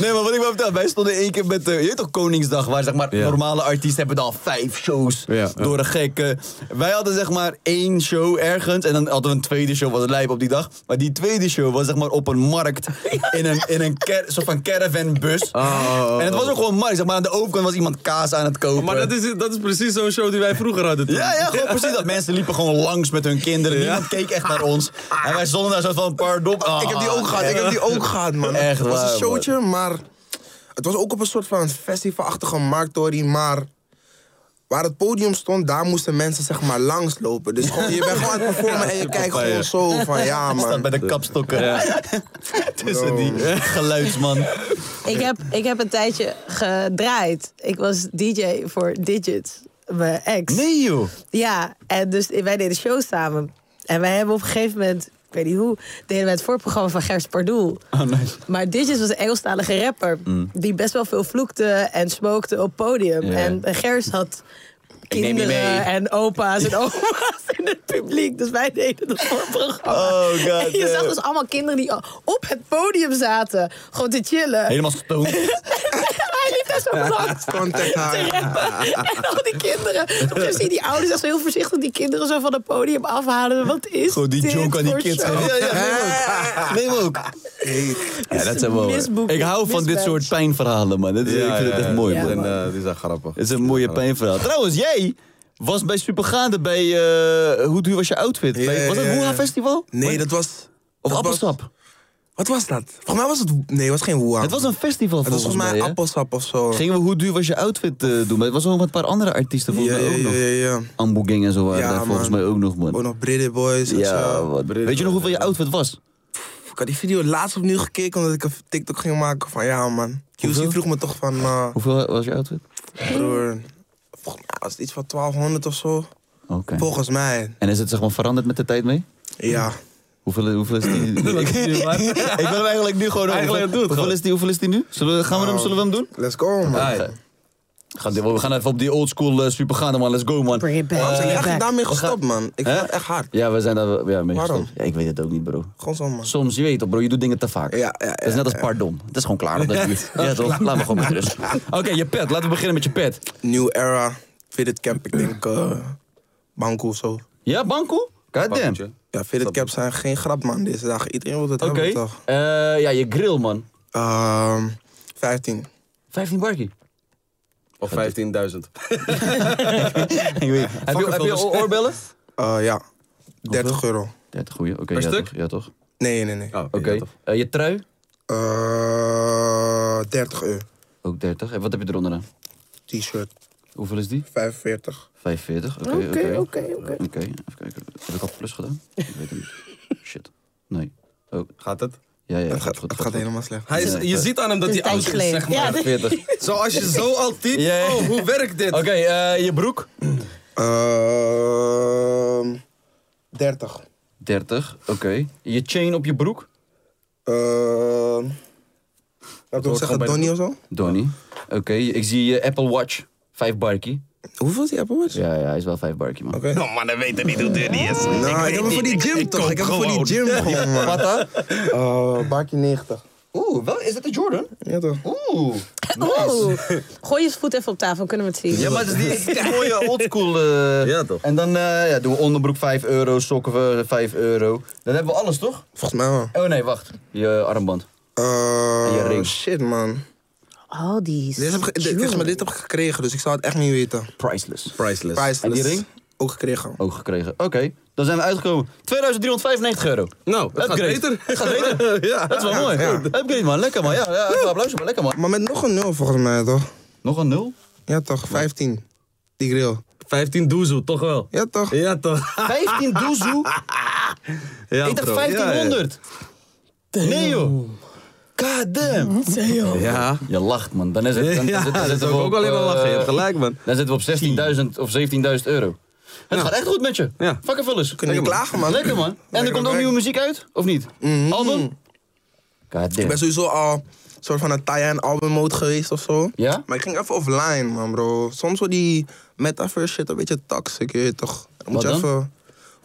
Nee, maar wat ik wil vertellen, wij stonden één keer met. eh, je weet toch Koningsdag, waar zeg maar normale artiesten hebben dan vijf shows
Ja.
door een gekke. Wij hadden zeg maar één show ergens en dan hadden we een tweede show, was het lijp op die dag. Maar die tweede show was zeg maar op een markt in een, in een car- soort van
Oh,
caravanbus. En het was ook gewoon een markt, zeg maar aan de overkant was iemand kaas aan het kopen.
Maar dat is, dat is precies zo'n show die wij vroeger hadden. toen.
Ja, ja, gewoon precies dat. Mensen liepen gewoon langs met hun kinderen. Niemand keek echt naar ons. En wij stonden daar zo van, pardon. Ah,
Oh, Ik heb die ook gehad, ik heb die ook gehad, man.
Echt
Het was
waar,
een showtje, maar het was ook op een soort van festivalachtige markttorie, maar waar het podium stond, daar moesten mensen zeg maar langslopen. Dus gewoon, je bent gewoon aan het performen en je kijkt
fijn,
gewoon zo van, ja
Staat bij
man. Oh.
de kapstokken. Tussen die geluidsman.
Ik, heb, ik heb een tijdje gedraaid. Ik was DJ voor Digits, mijn ex.
Nee joh.
Ja, en dus wij deden show samen. En wij hebben op een gegeven moment, ik weet niet hoe, deden wij het voorprogramma van Gers Pardoel.
Oh, nice.
Maar Digits was een Engelstalige rapper die best wel veel vloekte en smokte op podium.
Mm. Ja.
En Gers had
neem je mee.
kinderen en opa's en oma's in het publiek. Dus wij deden dat voorprogramma.
Oh, god
en je zag
damn.
dus allemaal kinderen die op het podium zaten. Gewoon te chillen.
Helemaal stoned.
Hij liep daar zo langs.
Contact
te
haar.
rappen. En al die kinderen. Op een gegeven moment zie je die ouders echt zo heel voorzichtig die kinderen zo van het podium afhalen. Wat is
Gewoon die
dit
joke aan die
voor
kids.
show?
Ja, ja, neem ook. Neem ook. Ja, dat zijn wel...
Misboek,
Ik hou van dit
mismatch.
soort pijnverhalen, man. Dit is, ik vind het echt mooi,
Ja,
man.
En,
man.
eh, die zijn grappig.
Het is een mooie pijnverhaal. Trouwens, jij was bij Supergaande bij... eh, hoe duur was je outfit? Bij- was dat
ja,
Hoera
ja.
Festival?
Nee, dat was...
Of
dat was-
Appelsap?
Wat was dat? Volgens mij was het... Nee, het was geen woeha.
Het was een festival
Het was volgens mij
hè?
appelsap of zo.
Gingen we hoe duur was je outfit eh, doen? Maar het was wel met een paar andere artiesten volgens
ja,
mij ook
ja,
nog.
ja, ja.
Ambu Gang en zo waren
Ja,
daar volgens
man.
mij ook nog,
Ook
man.
nog Brede Boys. en
Ja,
zo.
wat. Weet je nog hoeveel je outfit was?
Ik had die video laatst opnieuw gekeken omdat ik een TikTok ging maken van ja man. QC vroeg me toch van eh,
Hoeveel was je outfit?
broer, volgens mij was het iets van 1200 of zo.
Oké.
Volgens mij,
En is het zeg maar veranderd met de tijd mee?
ja.
Hoeveel, hoeveel is die? ik, ik wil hem eigenlijk nu gewoon...
Eigenlijk
hoeveel,
doe het
hoeveel,
gewoon.
is die, hoeveel is die nu? Zullen we, gaan we hem,
Nou.
zullen we hem doen?
Let's go man.
Ga- Gaan we- we gaan even op die oldschool eh, supergaande man. Let's go man.
Bring it back.
Waarom zijn
bring it
jullie echt
Eh, back.
daarmee gestopt man? Ik
Hè?
vind het echt hard.
Ja, we zijn daar ja, mee
Waarom?
gestopt. Ja, ik weet het ook niet bro.
Gewoon zo man.
Soms, je weet toch bro, je doet dingen te vaak.
Ja, ja, ja,
dat is net als pardon. Het is gewoon klaar op dat uur. Ja, toch? Laat me gewoon met rust. Oké, je pet. Laten we beginnen met je pet.
New era, Fitted Camp, ik denk eh Banco of zo.
Ja, Banco? Goddamn.
Ja, Fitted Camp zijn geen grap man deze dagen. Iedereen wil het
Oké.
hebben toch?
Eh, ja, je grill, man.
Ehm 15.
15 barkie.
Of 15.000.
Ik weet- heb je, heb je o- oorbellen?
Eh, ja, 30 euro.
30 goeie. Oké,
Per
ja,
stuk?
Toch, ja, toch.
Nee, nee, nee.
Oh,
Oké. Eh, je trui?
Eh, 30 euro.
Ook 30. En wat heb je eronder dan?
T-shirt,
Hoeveel is die?
45.
45. Oké,
Oké,
oké.
oké, oké.
Oké, even kijken. Heb ik al plus gedaan? Ik weet het niet. Shit. Nee. Oh,
Gaat het?
ja, ja.
Het gaat, het gaat helemaal slecht.
Hij is,
Ja,
je
ja.
ziet aan hem dat
Het
hij
is een
oud
tijdje
is, zeg
geleden.
maar.
Ja.
40.
Zoals je zo al typt,
Ja, ja.
oh, hoe werkt dit?
Oké, eh, je broek?
Ehm, 30.
30. Oké. Je chain op je broek?
Ehm laat ik ook zeggen, Donnie of zo?
Donnie. Oké, ik zie je Apple Watch. 5 barkie.
Hoeveel is die Apple Watch?
Ja, ja, hij is wel 5 barkie, man.
Oké. Nou,
Oh, maar dan weten niet hoe duur die is.
ik, heb hem voor die gym toch? Ik heb hem voor die gym gewoon, man.
Wat dan?
Eh, Barkie 90.
Oeh, wel, is dat de Jordan?
Ja toch?
Oeh.
oh.
Oeh. Gooi je voet even op tafel, dan kunnen we het zien.
Ja, maar het is die- het is die mooie oldschool. eh
Ja, toch?
En dan eh, ja, doen we onderbroek 5 euro, sokken eh, 5 euro. Dan hebben we alles, toch?
Volgens mij wel.
Oh nee, wacht. Je armband.
Eh,
Je ring.
shit, man.
Al die
Dit heb, ik- dit, volgens mij, dit heb ik gekregen, dus ik zou het echt niet weten.
Priceless.
Priceless.
En die
Priceless.
ring?
Ook gekregen.
Ook gekregen. Oké, dan zijn we uitgekomen. 2395 euro.
Nou, het gaat
Upgrade.
beter.
Het gaat beter. ja, dat is wel mooi. Upgrade man, lekker man. Ja, ja applaus man, lekker man.
Maar met nog een 0 volgens mij, toch?
Nog een nul?
Ja toch, 15. Die grill.
15 doezoe, toch wel?
Ja toch?
Ja, toch?
15 doezoe?
Ja,
Ik dacht
bro. Ja, ja.
1500. Nee joh. God damn.
Ja,
Je lacht man. Dan is het... Dan,
ja,
dan
dat is
zitten we
ook alleen maar lachen. Je hebt
eh,
gelijk, man.
Dan zitten we op 16.000 of 17.000 euro. Het gaat echt goed met je.
Ja.
Fucking vullers.
Kunnen niet klagen, man. Mm-hmm.
Lekker man. En er
Lekker
komt ook
werk.
nieuwe muziek uit, of niet? Album? God
Ik
damn.
ben sowieso al soort van een tie en album mode geweest of zo.
Ja?
Maar ik ging even offline, man, bro. Soms wordt die metaverse shit een beetje toxic, je weet toch? Dan moet
Wat
je
dan?
even.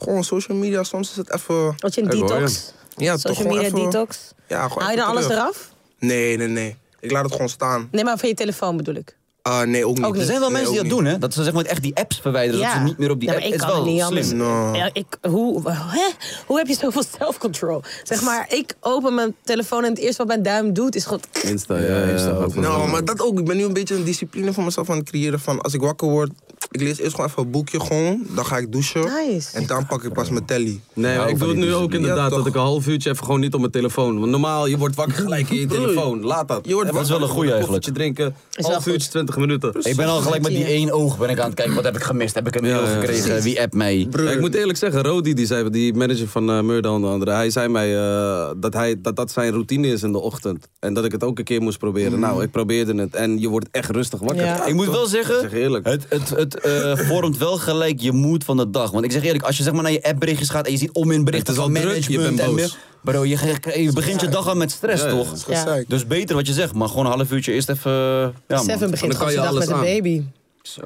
Gewoon social media, soms is het even.
Wat je een
Ik hoor
detox?
Ja, toch
Social
gewoon
media
even-
detox?
Ja, gewoon
Haal je
even
dan alles
terug.
eraf?
Nee, nee, nee. Ik laat het gewoon staan.
Nee, maar van je telefoon bedoel ik.
Ah, nee, ook niet.
Ook niet.
Er zijn wel
Nee,
mensen die
ook
dat doen, hè? Dat ze zeg maar echt die apps verwijderen,
Ja.
dat ze niet meer op die
Ja,
app...
maar ik
Het is
kan
wel
het niet
slim.
anders.
No.
Ja, ik, hoe, hè? hoe heb je zoveel self-control? Zeg maar, ik open mijn telefoon en het eerste wat mijn duim doet is gewoon...
Insta, ja, Insta. ook wel.
Nou, maar dat ook. Ik ben nu een beetje een discipline voor mezelf aan het creëren. Van als ik wakker word, ik lees eerst gewoon even een boekje gewoon. Dan ga ik douchen.
Nice.
En dan pak ik pas mijn telly.
nou,
Nee, maar ik doe het nu ook inderdaad.
Ja,
dat
toch.
ik een half uurtje even gewoon niet op mijn telefoon. Want normaal, je wordt wakker gelijk in je telefoon. Laat dat.
Je wordt
Even
wakker,
dat is wel een goeie
een
eigenlijk.
koffietje drinken.
wel
Half uurtje, 20 minuten.
Ik ben al gelijk met die één oog ben ik aan het kijken. Wat heb ik gemist? Heb ik een mail
ja,
gekregen?
precies.
Wie appt mij?
Ja, ik moet eerlijk zeggen, Rodi, die, zei, die manager van eh Murda onder andere, hij zei mij eh, dat, hij, dat dat zijn routine is in de ochtend. En dat ik het ook een keer moest proberen. Nou, ik probeerde het en je wordt echt rustig wakker.
Ja.
Ik moet
toch?
wel zeggen,
Ik zeg eerlijk.
het, het, het eh, vormt wel gelijk je moed van de dag. Want ik zeg eerlijk, als je zeg maar naar je appberichtjes gaat en je ziet onmin berichten
Het is
van
al druk,
management...
je bent
en-
boos.
Bro, je, ge- je begint je dag al met stress,
Ja, ja.
toch?
Ja.
Gezeik.
Dus beter wat je zegt, maar gewoon een half uurtje eerst even... Ja, man.
Seven
kan
begint gewoon
je
zijn dag
alles
met een
aan.
baby.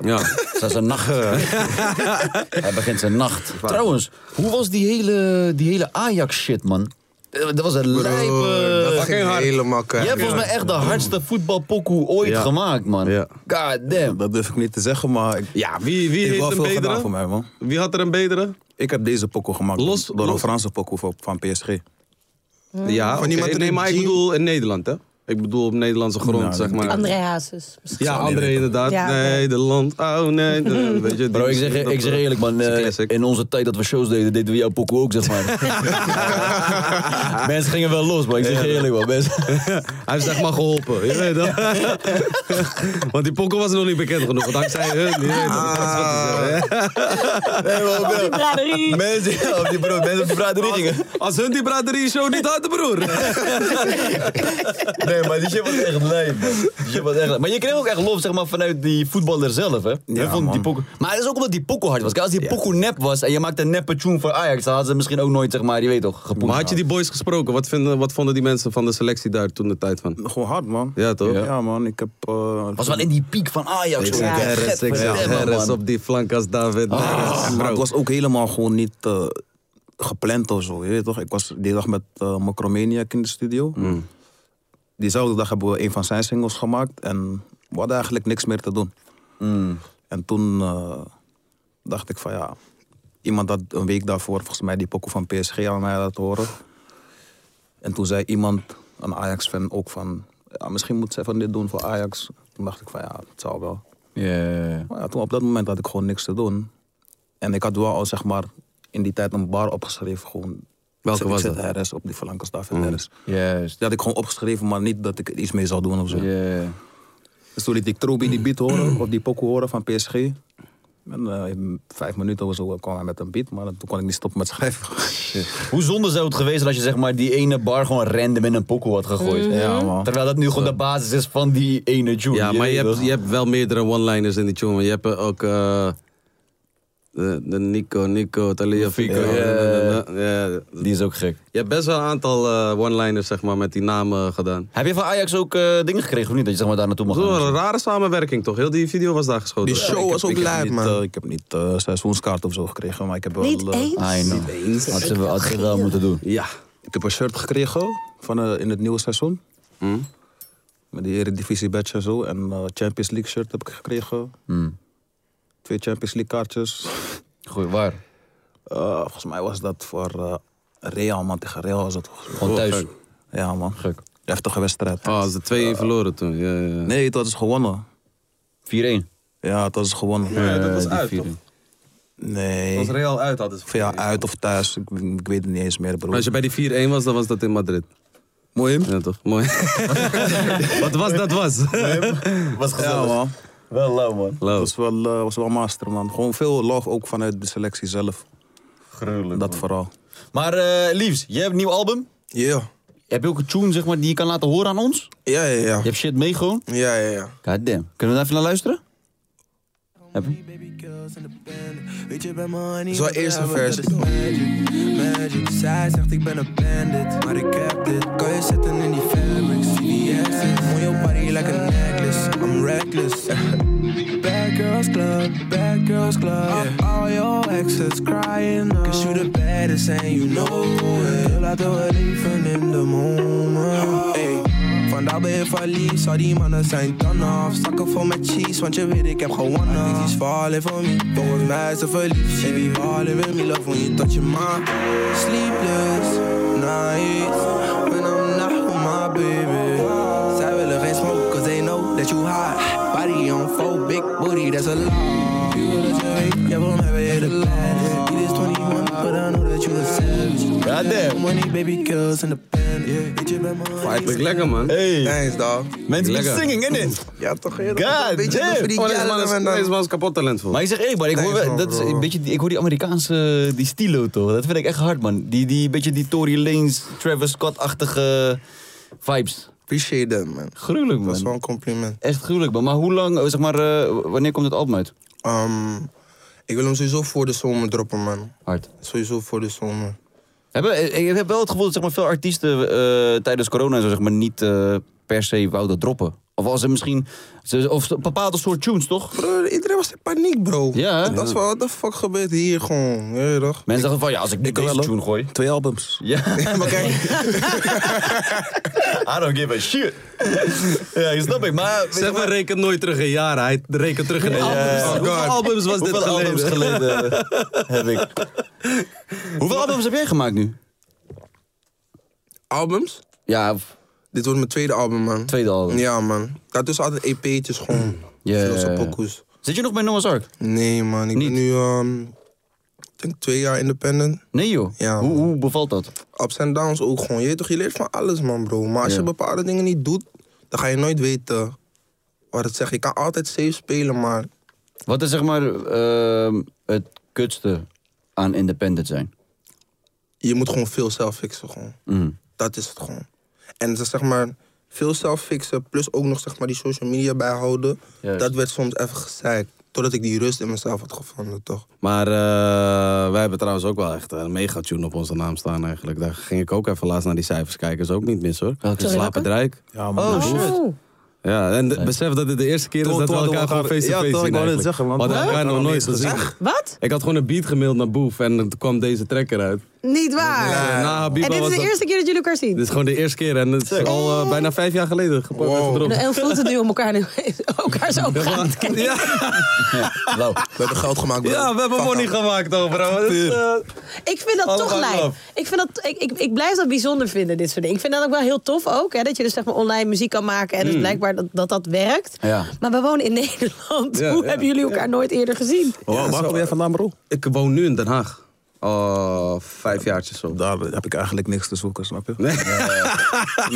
Ja.
Dat is een nacht. eh, Hij begint zijn nacht. Trouwens, hoe was die hele, die hele Ajax-shit, man? Eh, Dat was een lijpe...
dat
Eh, Fucking
ging
hard.
helemaal
Je
kwijt.
hebt volgens mij echt de hardste voetbalpokoe ooit
eh. Ja.
gemaakt, man.
Ja.
God damn.
Dat durf ik niet te zeggen, maar ik,
ja, wie, wie
ik heb
heeft
wel
een
veel gedaan voor
betere?
mij, man.
Wie had er een betere?
Ik heb deze pokoe gemaakt
Los-
door
los-
een Franse pokoe van, van PSG.
Ja,
Van iemand
oké.
in
nee,
een
maar ik
jean?
bedoel in Nederland, hè? Ik bedoel op Nederlandse grond,
Nou,
zeg maar.
André Hazes. misschien.
Ja, André inderdaad.
Ja, oké.
Nederland, oh nee. nee, Weet je, die-
Bro, ik zeg, ik zeg eerlijk, man.
is een
eh,
classic.
in onze tijd dat we shows deden, deden we jouw pokoe ook, zeg maar. Mensen gingen wel los, maar ik zeg je eerlijk, man. Mensen...
Hij heeft zeg maar geholpen. Je weet dat. want die pokkel was nog niet bekend genoeg. Want dankzij hun. Je weet dat. Dat is wat hij zegt, hè.
Op die braderie.
mensen, ja, op die bro, mensen op de braderie gingen.
Als hun die braderie show niet hadden, broer.
Nee, maar die shit was echt lijp, man. Die shit was echt lijp. Maar je kreeg ook echt lof, zeg maar, vanuit die voetballer zelf, hè? Hun vonden die pokoe- Maar het is ook omdat die pokoe hard was. Kijk, Als die pokoe nep was en je maakte een neppe tune voor Ajax, dan hadden ze misschien ook nooit, zeg maar, je weet toch, gepoept.
Maar had je die boys gesproken? Wat, vinden, wat vonden die mensen van de selectie daar toen de tijd van?
Gewoon hard, man.
Ja, toch?
Ja, man. Ik heb... eh,
Was wel in die piek van Ajax, hoor.
Ja.
Harris, ik zeg
Gadverdamme,
Harris
man.
op die flank als David. Harris,
Maar
bro.
het was ook helemaal gewoon niet eh, gepland of zo, je weet toch? Ik was die dag met eh Macromaniac in de studio. Diezelfde dag hebben we een van zijn singles gemaakt en we hadden eigenlijk niks meer te doen. En toen eh, dacht ik van ja, iemand had een week daarvoor volgens mij die pokoe van PSG aan mij laten horen. En toen zei iemand, een Ajax-fan ook van, ja, misschien moet ze van dit doen voor Ajax. Toen dacht ik van ja, het zou wel.
Ja.
Maar ja, toen, op dat moment had ik gewoon niks te doen. En ik had wel al zeg maar in die tijd een bar opgeschreven. Gewoon
Welke
Ik
was
zet
dat?
RS op die flankers daar van RS.
Mm. Juist.
Die had ik gewoon opgeschreven, maar niet dat ik er iets mee zou doen of zo.
Ja.
Dus toen liet ik Trobi die beat horen, of die pokoe horen van PSG. En eh, in vijf minuten of zo kwam hij met een beat, maar toen kon ik niet stoppen met schrijven.
Hoe zonde zou het geweest zijn als je zeg maar die ene bar gewoon random in een pokoe had gegooid?
Mhm. Ja, man.
Terwijl dat nu gewoon de basis is van die ene tune.
Ja, maar je
weet
hebt,
toch?
je hebt wel meerdere one-liners in die tune. want Je hebt eh, ook eh, de, de Nico, Nico, Talia Fico.
Ja, ja,
Ja,
Die is ook gek.
Je hebt best wel een aantal eh, one-liners zeg maar, met die namen gedaan.
Heb je van Ajax ook eh, dingen gekregen of niet? Dat je zeg maar daar naartoe mag
Dat was wel
gaan?
een rare samenwerking toch? Heel die video was daar geschoten.
Die show was ook
Ik heb
lijp,
niet, eh,
man.
ik heb niet eh, seizoenskaart of zo gekregen, maar ik heb wel...
Niet
eh,
één?
I know. Had ze, wel- had ze wel moeten doen.
Ja.
Ik heb een shirt gekregen van, eh, in het nieuwe seizoen.
Hm?
Met die Eredivisie badge en zo. En eh, Champions League shirt heb ik gekregen.
Hm.
Twee Champions League kaartjes.
Goed, waar?
Eh, volgens mij was dat voor eh, Real, man. Tegen Real was dat volgens mij.
Gewoon thuis.
Ja, man.
Gek. Ah.
Heftige wedstrijd.
Oh, ze twee 1 verloren toen. Ja, ja. ja.
Nee, het was gewonnen.
4-1.
Ja, het was gewonnen.
Ja, dat was
Eh, die
uit,
4-1.
toch?
Nee.
Real uit hadden
Of ja, uit of thuis. Ik, ik weet het niet eens meer, broer.
als je bij die 4-1 was, dan was dat in Madrid.
Mooi,
Ja, toch? Mooi. Wat was, dat was.
Was
Ja, man.
Wel lauw, man.
Dat
Love.
was wel, eh, was wel master, man. Gewoon veel love ook vanuit de selectie zelf.
Gruwelijk.
Dat vooral.
Maar eh Liefs, jij hebt een nieuw album.
Ja.
Heb je ook een tune zeg maar, die je kan laten horen aan ons?
Ja, ja, ja.
Je hebt shit mee gewoon?
Ja, ja, ja.
God damn. Kunnen we daar even naar luisteren? Heb je?
Het is wel eerst een vers.
Magic, zij zegt ik ben een bandit, maar ik heb dit. Kan je zitten in die fabric, zie die accent. Mooie body like a necklace, I'm reckless. Bad girls club, bad girls club. All your exes crying oh. now. Cause you the baddest and you know it. Girl, I do it even in the moment. Hey. Vandaag ben je verlies, al die mannen zijn dan af. Zakken vol met cheese, want je weet ik heb gewonnen. I think she's falling for me, volgens mij is ze verliefd. She be balling with me, love when you touch your mind. Sleepless nights, when I'm not with my baby. Zij willen geen smoke, cause they know that you hot. Body on full, big booty, that's a lot. You wil dat je weet, jij wil mij weer de baddest. It is 21, but I know that you a savage.
God damn.
Money, baby, girls in the pen. Yeah, bitch, je bent mijn
Vind ik lekker, man.
Hey.
Thanks, dog.
Mensen met
Lekker.
singing, innit?
Ja, toch? ja,
God
toch een beetje
damn.
voor die
Oh, deze
gellen
man is,
en dan-
deze man is kapot talentvol.
Maar ik zeg eerlijk, maar ik hoor,
Thanks,
wel-
man,
dat is
bro.
een beetje, die- ik hoor die Amerikaanse die stilo toch? Dat vind ik echt hard, man. Die, die beetje die Tory Lanez, Travis Scott-achtige vibes.
Appreciate that, man.
Gruwelijk,
Dat is wel
man.
een compliment.
Echt gruwelijk, man. Maar hoe lang, eh, zeg maar, eh, wanneer komt het album uit?
Ehm, ik wil hem sowieso voor de zomer droppen, man.
Hard.
Sowieso voor de zomer.
Hebben, ik ik heb wel het gevoel dat zeg maar, veel artiesten eh, tijdens corona en zo, zeg maar, niet eh, per se wouden droppen. Of als ze misschien. ze- Of ze- bepaalde soort tunes, toch?
Bro, iedereen was in paniek, bro.
Ja, hè?
Dat was wel, what the fuck gebeurt hier gewoon? Ja, toch?
Mensen dachten van ja, als ik nu
wel,
deze
hoor.
tune gooi.
Twee albums.
Ja,
maar kijk,
I don't give a shit. ja, je snap ik. Maar weet je
Zeg maar, reken nooit terug in jaren. Hij rekent terug in albums. Oh, Hoeveel albums was dit
hoeveel
geleden?
albums geleden heb ik? Hoeveel albums heb jij gemaakt nu?
albums?
Ja, v-
Dit wordt mijn tweede album, man.
tweede album. Mm.
Ja, man. Daartussen altijd EP'tjes gewoon.
Ja.
Losse pokoes.
Zit je nog bij Noah's Ark?
Nee, man. Ik
Niet?
ben nu, ehm, ik denk twee jaar independent.
Nee joh.
Ja,
hoe,
man.
hoe bevalt dat?
Ups en downs ook gewoon. Je, weet toch, je leert van alles, man, bro. Maar als
Ja.
je bepaalde dingen niet doet, dan ga je nooit weten wat het zegt. Je kan altijd safe spelen, maar
Wat is zeg maar ehm, het kutste aan independent zijn?
je moet gewoon veel zelf fixen, gewoon.
Mhm.
Dat is het gewoon. En het is zeg maar, veel zelf fixen, plus ook nog zeg maar die social media bijhouden.
Juist.
Dat werd soms even gezeikt. Totdat ik die rust in mezelf had gevonden, toch?
Maar eh, wij hebben trouwens ook wel echt eh, een megatune op onze naam staan eigenlijk. Daar ging ik ook even laatst naar die cijfers kijken. Is ook niet mis hoor.
Welke?
Slapend Rijk.
Ja, man. Oh,
Oh.
Ja, en de- besef dat dit de eerste keer is
Toen-
dat we
toen hadden we
elkaar gewoon
elkaar-
face-to-face
ja,
zien
toch, ik wou net
eigenlijk.
zeggen,
We
want
hadden
we
elkaar nog
hadden
nooit
elkaar nog
gezien.
niet
Wat?
Ik had gewoon een beat gemaild naar Boef en toen kwam deze tracker uit.
Niet waar.
Na nou, Habiba
En dit
was
is de
dat-
eerste keer dat jullie elkaar zien.
Dit is gewoon de eerste keer en het is al eh, bijna vijf jaar geleden gepakt en gedropt.
En voelt het nu om elkaar, nu, elkaar zo op gaan te kijken.
Ja,
Lau.
We hebben geld gemaakt, bro.
ja, we hebben money gemaakt overal. Dus, eh,
Ik vind dat
Allemaal
toch lijp.
knap.
Ik, vind dat, ik, ik, ik blijf dat bijzonder vinden, dit soort dingen. Ik vind dat ook wel heel tof ook. Hè, dat je dus zeg maar online muziek kan maken.
Mm.
En dus blijkbaar dat dat, dat werkt.
Ja.
Maar we wonen in Nederland.
Ja,
Hoe
ja,
hebben jullie elkaar nooit eerder gezien?
Waar kom jij vandaan, bro?
ik woon nu in Den Haag. Oh, vijf jaartjes zo.
Daar heb ik eigenlijk niks te zoeken, snap je?
Nee.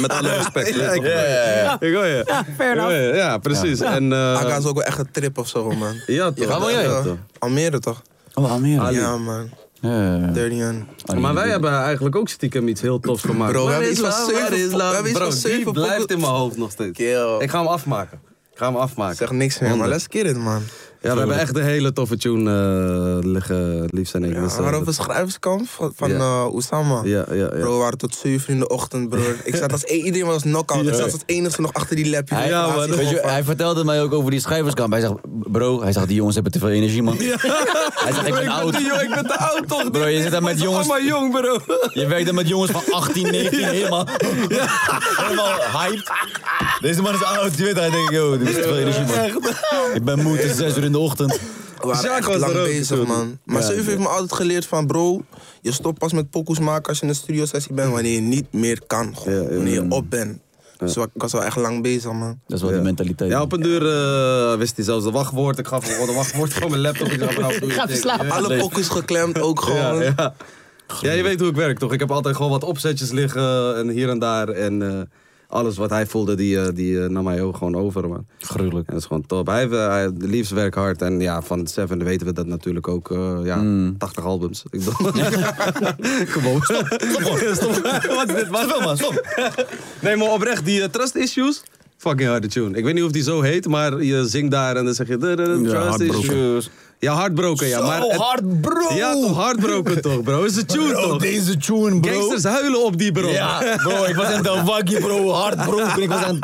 Met alle respect. weet je toch?
Ja, ja,
fair enough.
ja, ja, precies. En, eh,
Aga is ook wel echt een trip of zo, man.
ja, toch.
gaat
Ja,
Ja,
toch.
Almere toch?
Oh, Almere.
Ja, man.
Ja.
Dirty Hun.
Maar wij hebben eigenlijk ook stiekem iets heel tofs gemaakt.
Bro, we
Waar
hebben
is
iets van
love?
zeven
Waar is
po-
love?
we hebben iets
Bro,
van
die
zeven
blijft
poppen-
in mijn hoofd nog steeds.
Kill.
Ik ga hem afmaken. Ik ga hem afmaken.
Zeg niks meer, maar
Honderd.
let's get it, man.
Ja, we hebben echt een hele toffe tune eh, liggen, liefst en ik.
Ja,
Dus, eh,
maar op
dat-
een schrijverskamp van, van
Ja.
eh, Oussama.
Ja, ja, ja.
Bro, we waren tot 7 uur in de ochtend, bro. Ik zat als iedereen was knock-out. Ik zat als enige nog achter die lapje.
Hij,
Laatst
weet
gewoon
je,
van-
hij vertelde mij ook over die schrijverskamp. Hij zegt, bro, hij zegt, die jongens hebben te veel energie, man. Hij zegt, ik ben oud.
ik ben te oud toch?
Bro, je zit daar met jongens,
Allemaal jong, bro.
je werkt daar met jongens van 18, 19, helemaal, helemaal hyped. Deze man is oud, je weet hij denkt, yo, die is te veel energie, man. Ik ben moe, het is 6 uur in de ochtend.
We waren
Jacques
echt
was
lang
er ook,
bezig,
natuurlijk.
man. Maar Zeuf heeft me altijd geleerd van, bro, je stopt pas met pokoes maken als je in de studiosessie bent, wanneer je niet meer kan, gewoon.
Ja, ja,
wanneer je op bent. Dus wa- ik was wel echt lang bezig, man.
Dat is wel die mentaliteit.
Ja, op een duur eh, wist hij zelfs de wachtwoord. Ik gaf hem gewoon de wachtwoord van mijn laptop. Ik dacht, nou, doe je
Ga
ding.
verslaan.
Ja,
Alle pokoes geklemd ook
Ja,
gewoon.
ja. ja, je weet hoe ik werk toch? Ik heb altijd gewoon wat opzetjes liggen en hier en daar. En eh, alles wat hij voelde, die, eh, die eh, nam hij ook gewoon over, man.
Gruwelijk.
En dat is gewoon top. Hij, eh, hij de liefst werkt hard. En ja, van Seven weten we dat natuurlijk ook. eh, ja, 80 albums. Ik bedoel- Kom op. Stop, Wat is dit? Wacht wel, man. Stop. Nee, maar oprecht, die eh, Trust Issues. Fucking harde tune. Ik weet niet of die zo heet, maar je zingt daar en dan zeg je... "Da, da, da, Trust
Heartbroken.
Issues. Ja, hardbroken, ja. Maar het-
hard, bro!
ja, toch hardbroken toch, bro? Is de tune toch?
deze tune, bro.
Gangsters huilen op die, bro.
Ja, bro, ik was aan de wakkie, bro. Hardbroken. Ik, was aan...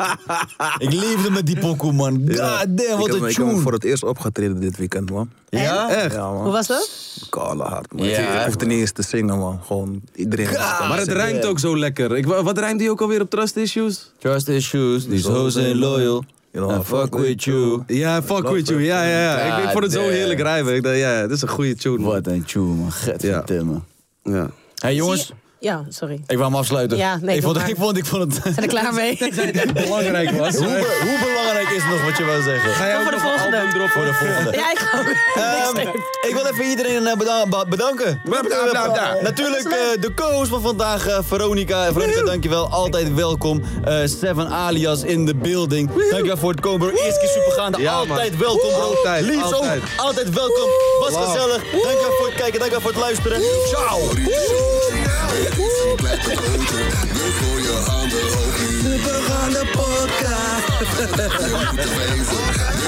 ik leefde met die pokoe, man. God
ah,
damn,
Ik
wat
heb,
een
ik heb hem voor
tune.
het eerst opgetreden dit weekend, man.
Ja? Echt?
Ja,
Hoe
man.
was dat?
Kale hard, man.
Ja,
ik hoefde niet eens te zingen, man. Gewoon iedereen.
Ah, Maar het rijmt ook zo lekker. Ik, wa- wat rijmt die ook alweer op Trust Issues?
Trust issues, these hoes ain't loyal.
You know,
I fuck with you.
Ja, fuck with you. Ja, ja, ja. Ik, ik vond het zo
Goddamn.
heerlijk rijmen. Ik dacht, ja, dit is een goede tune. man.
Wat een tune, man. Gadverdamme.
Ja.
Hé, hey, jongens.
Zie je- Ja, sorry.
Ik wou hem afsluiten.
Ja, nee, doe
ik, vond,
maar.
ik, vond, ik vond het...
Zijn er klaar mee?
Belangrijk was.
hoe, be- hoe belangrijk is het nog wat je wil zeggen?
Ga jij ook
voor de
nog een
volgende.
album droppen?
Voor de volgende.
Ja, ik ga ook.
Ehm, ik wil even iedereen eh, bedan- ba- bedanken.
bedankt, bedankt, bedankt.
Natuurlijk eh, de co-host van vandaag, eh, Veronica. Veronica, dankjewel. Altijd welkom. Eh, Seven alias in the building. Dankjewel voor het komen, bro. Eerste keer supergaande.
Ja, man.
altijd welkom, bro.
Altijd,
Liefst
altijd.
ook. Altijd welkom. Was
Wow.
gezellig. Dankjewel voor het kijken. Dankjewel voor het luisteren. Ciao.
Supergaande podcast.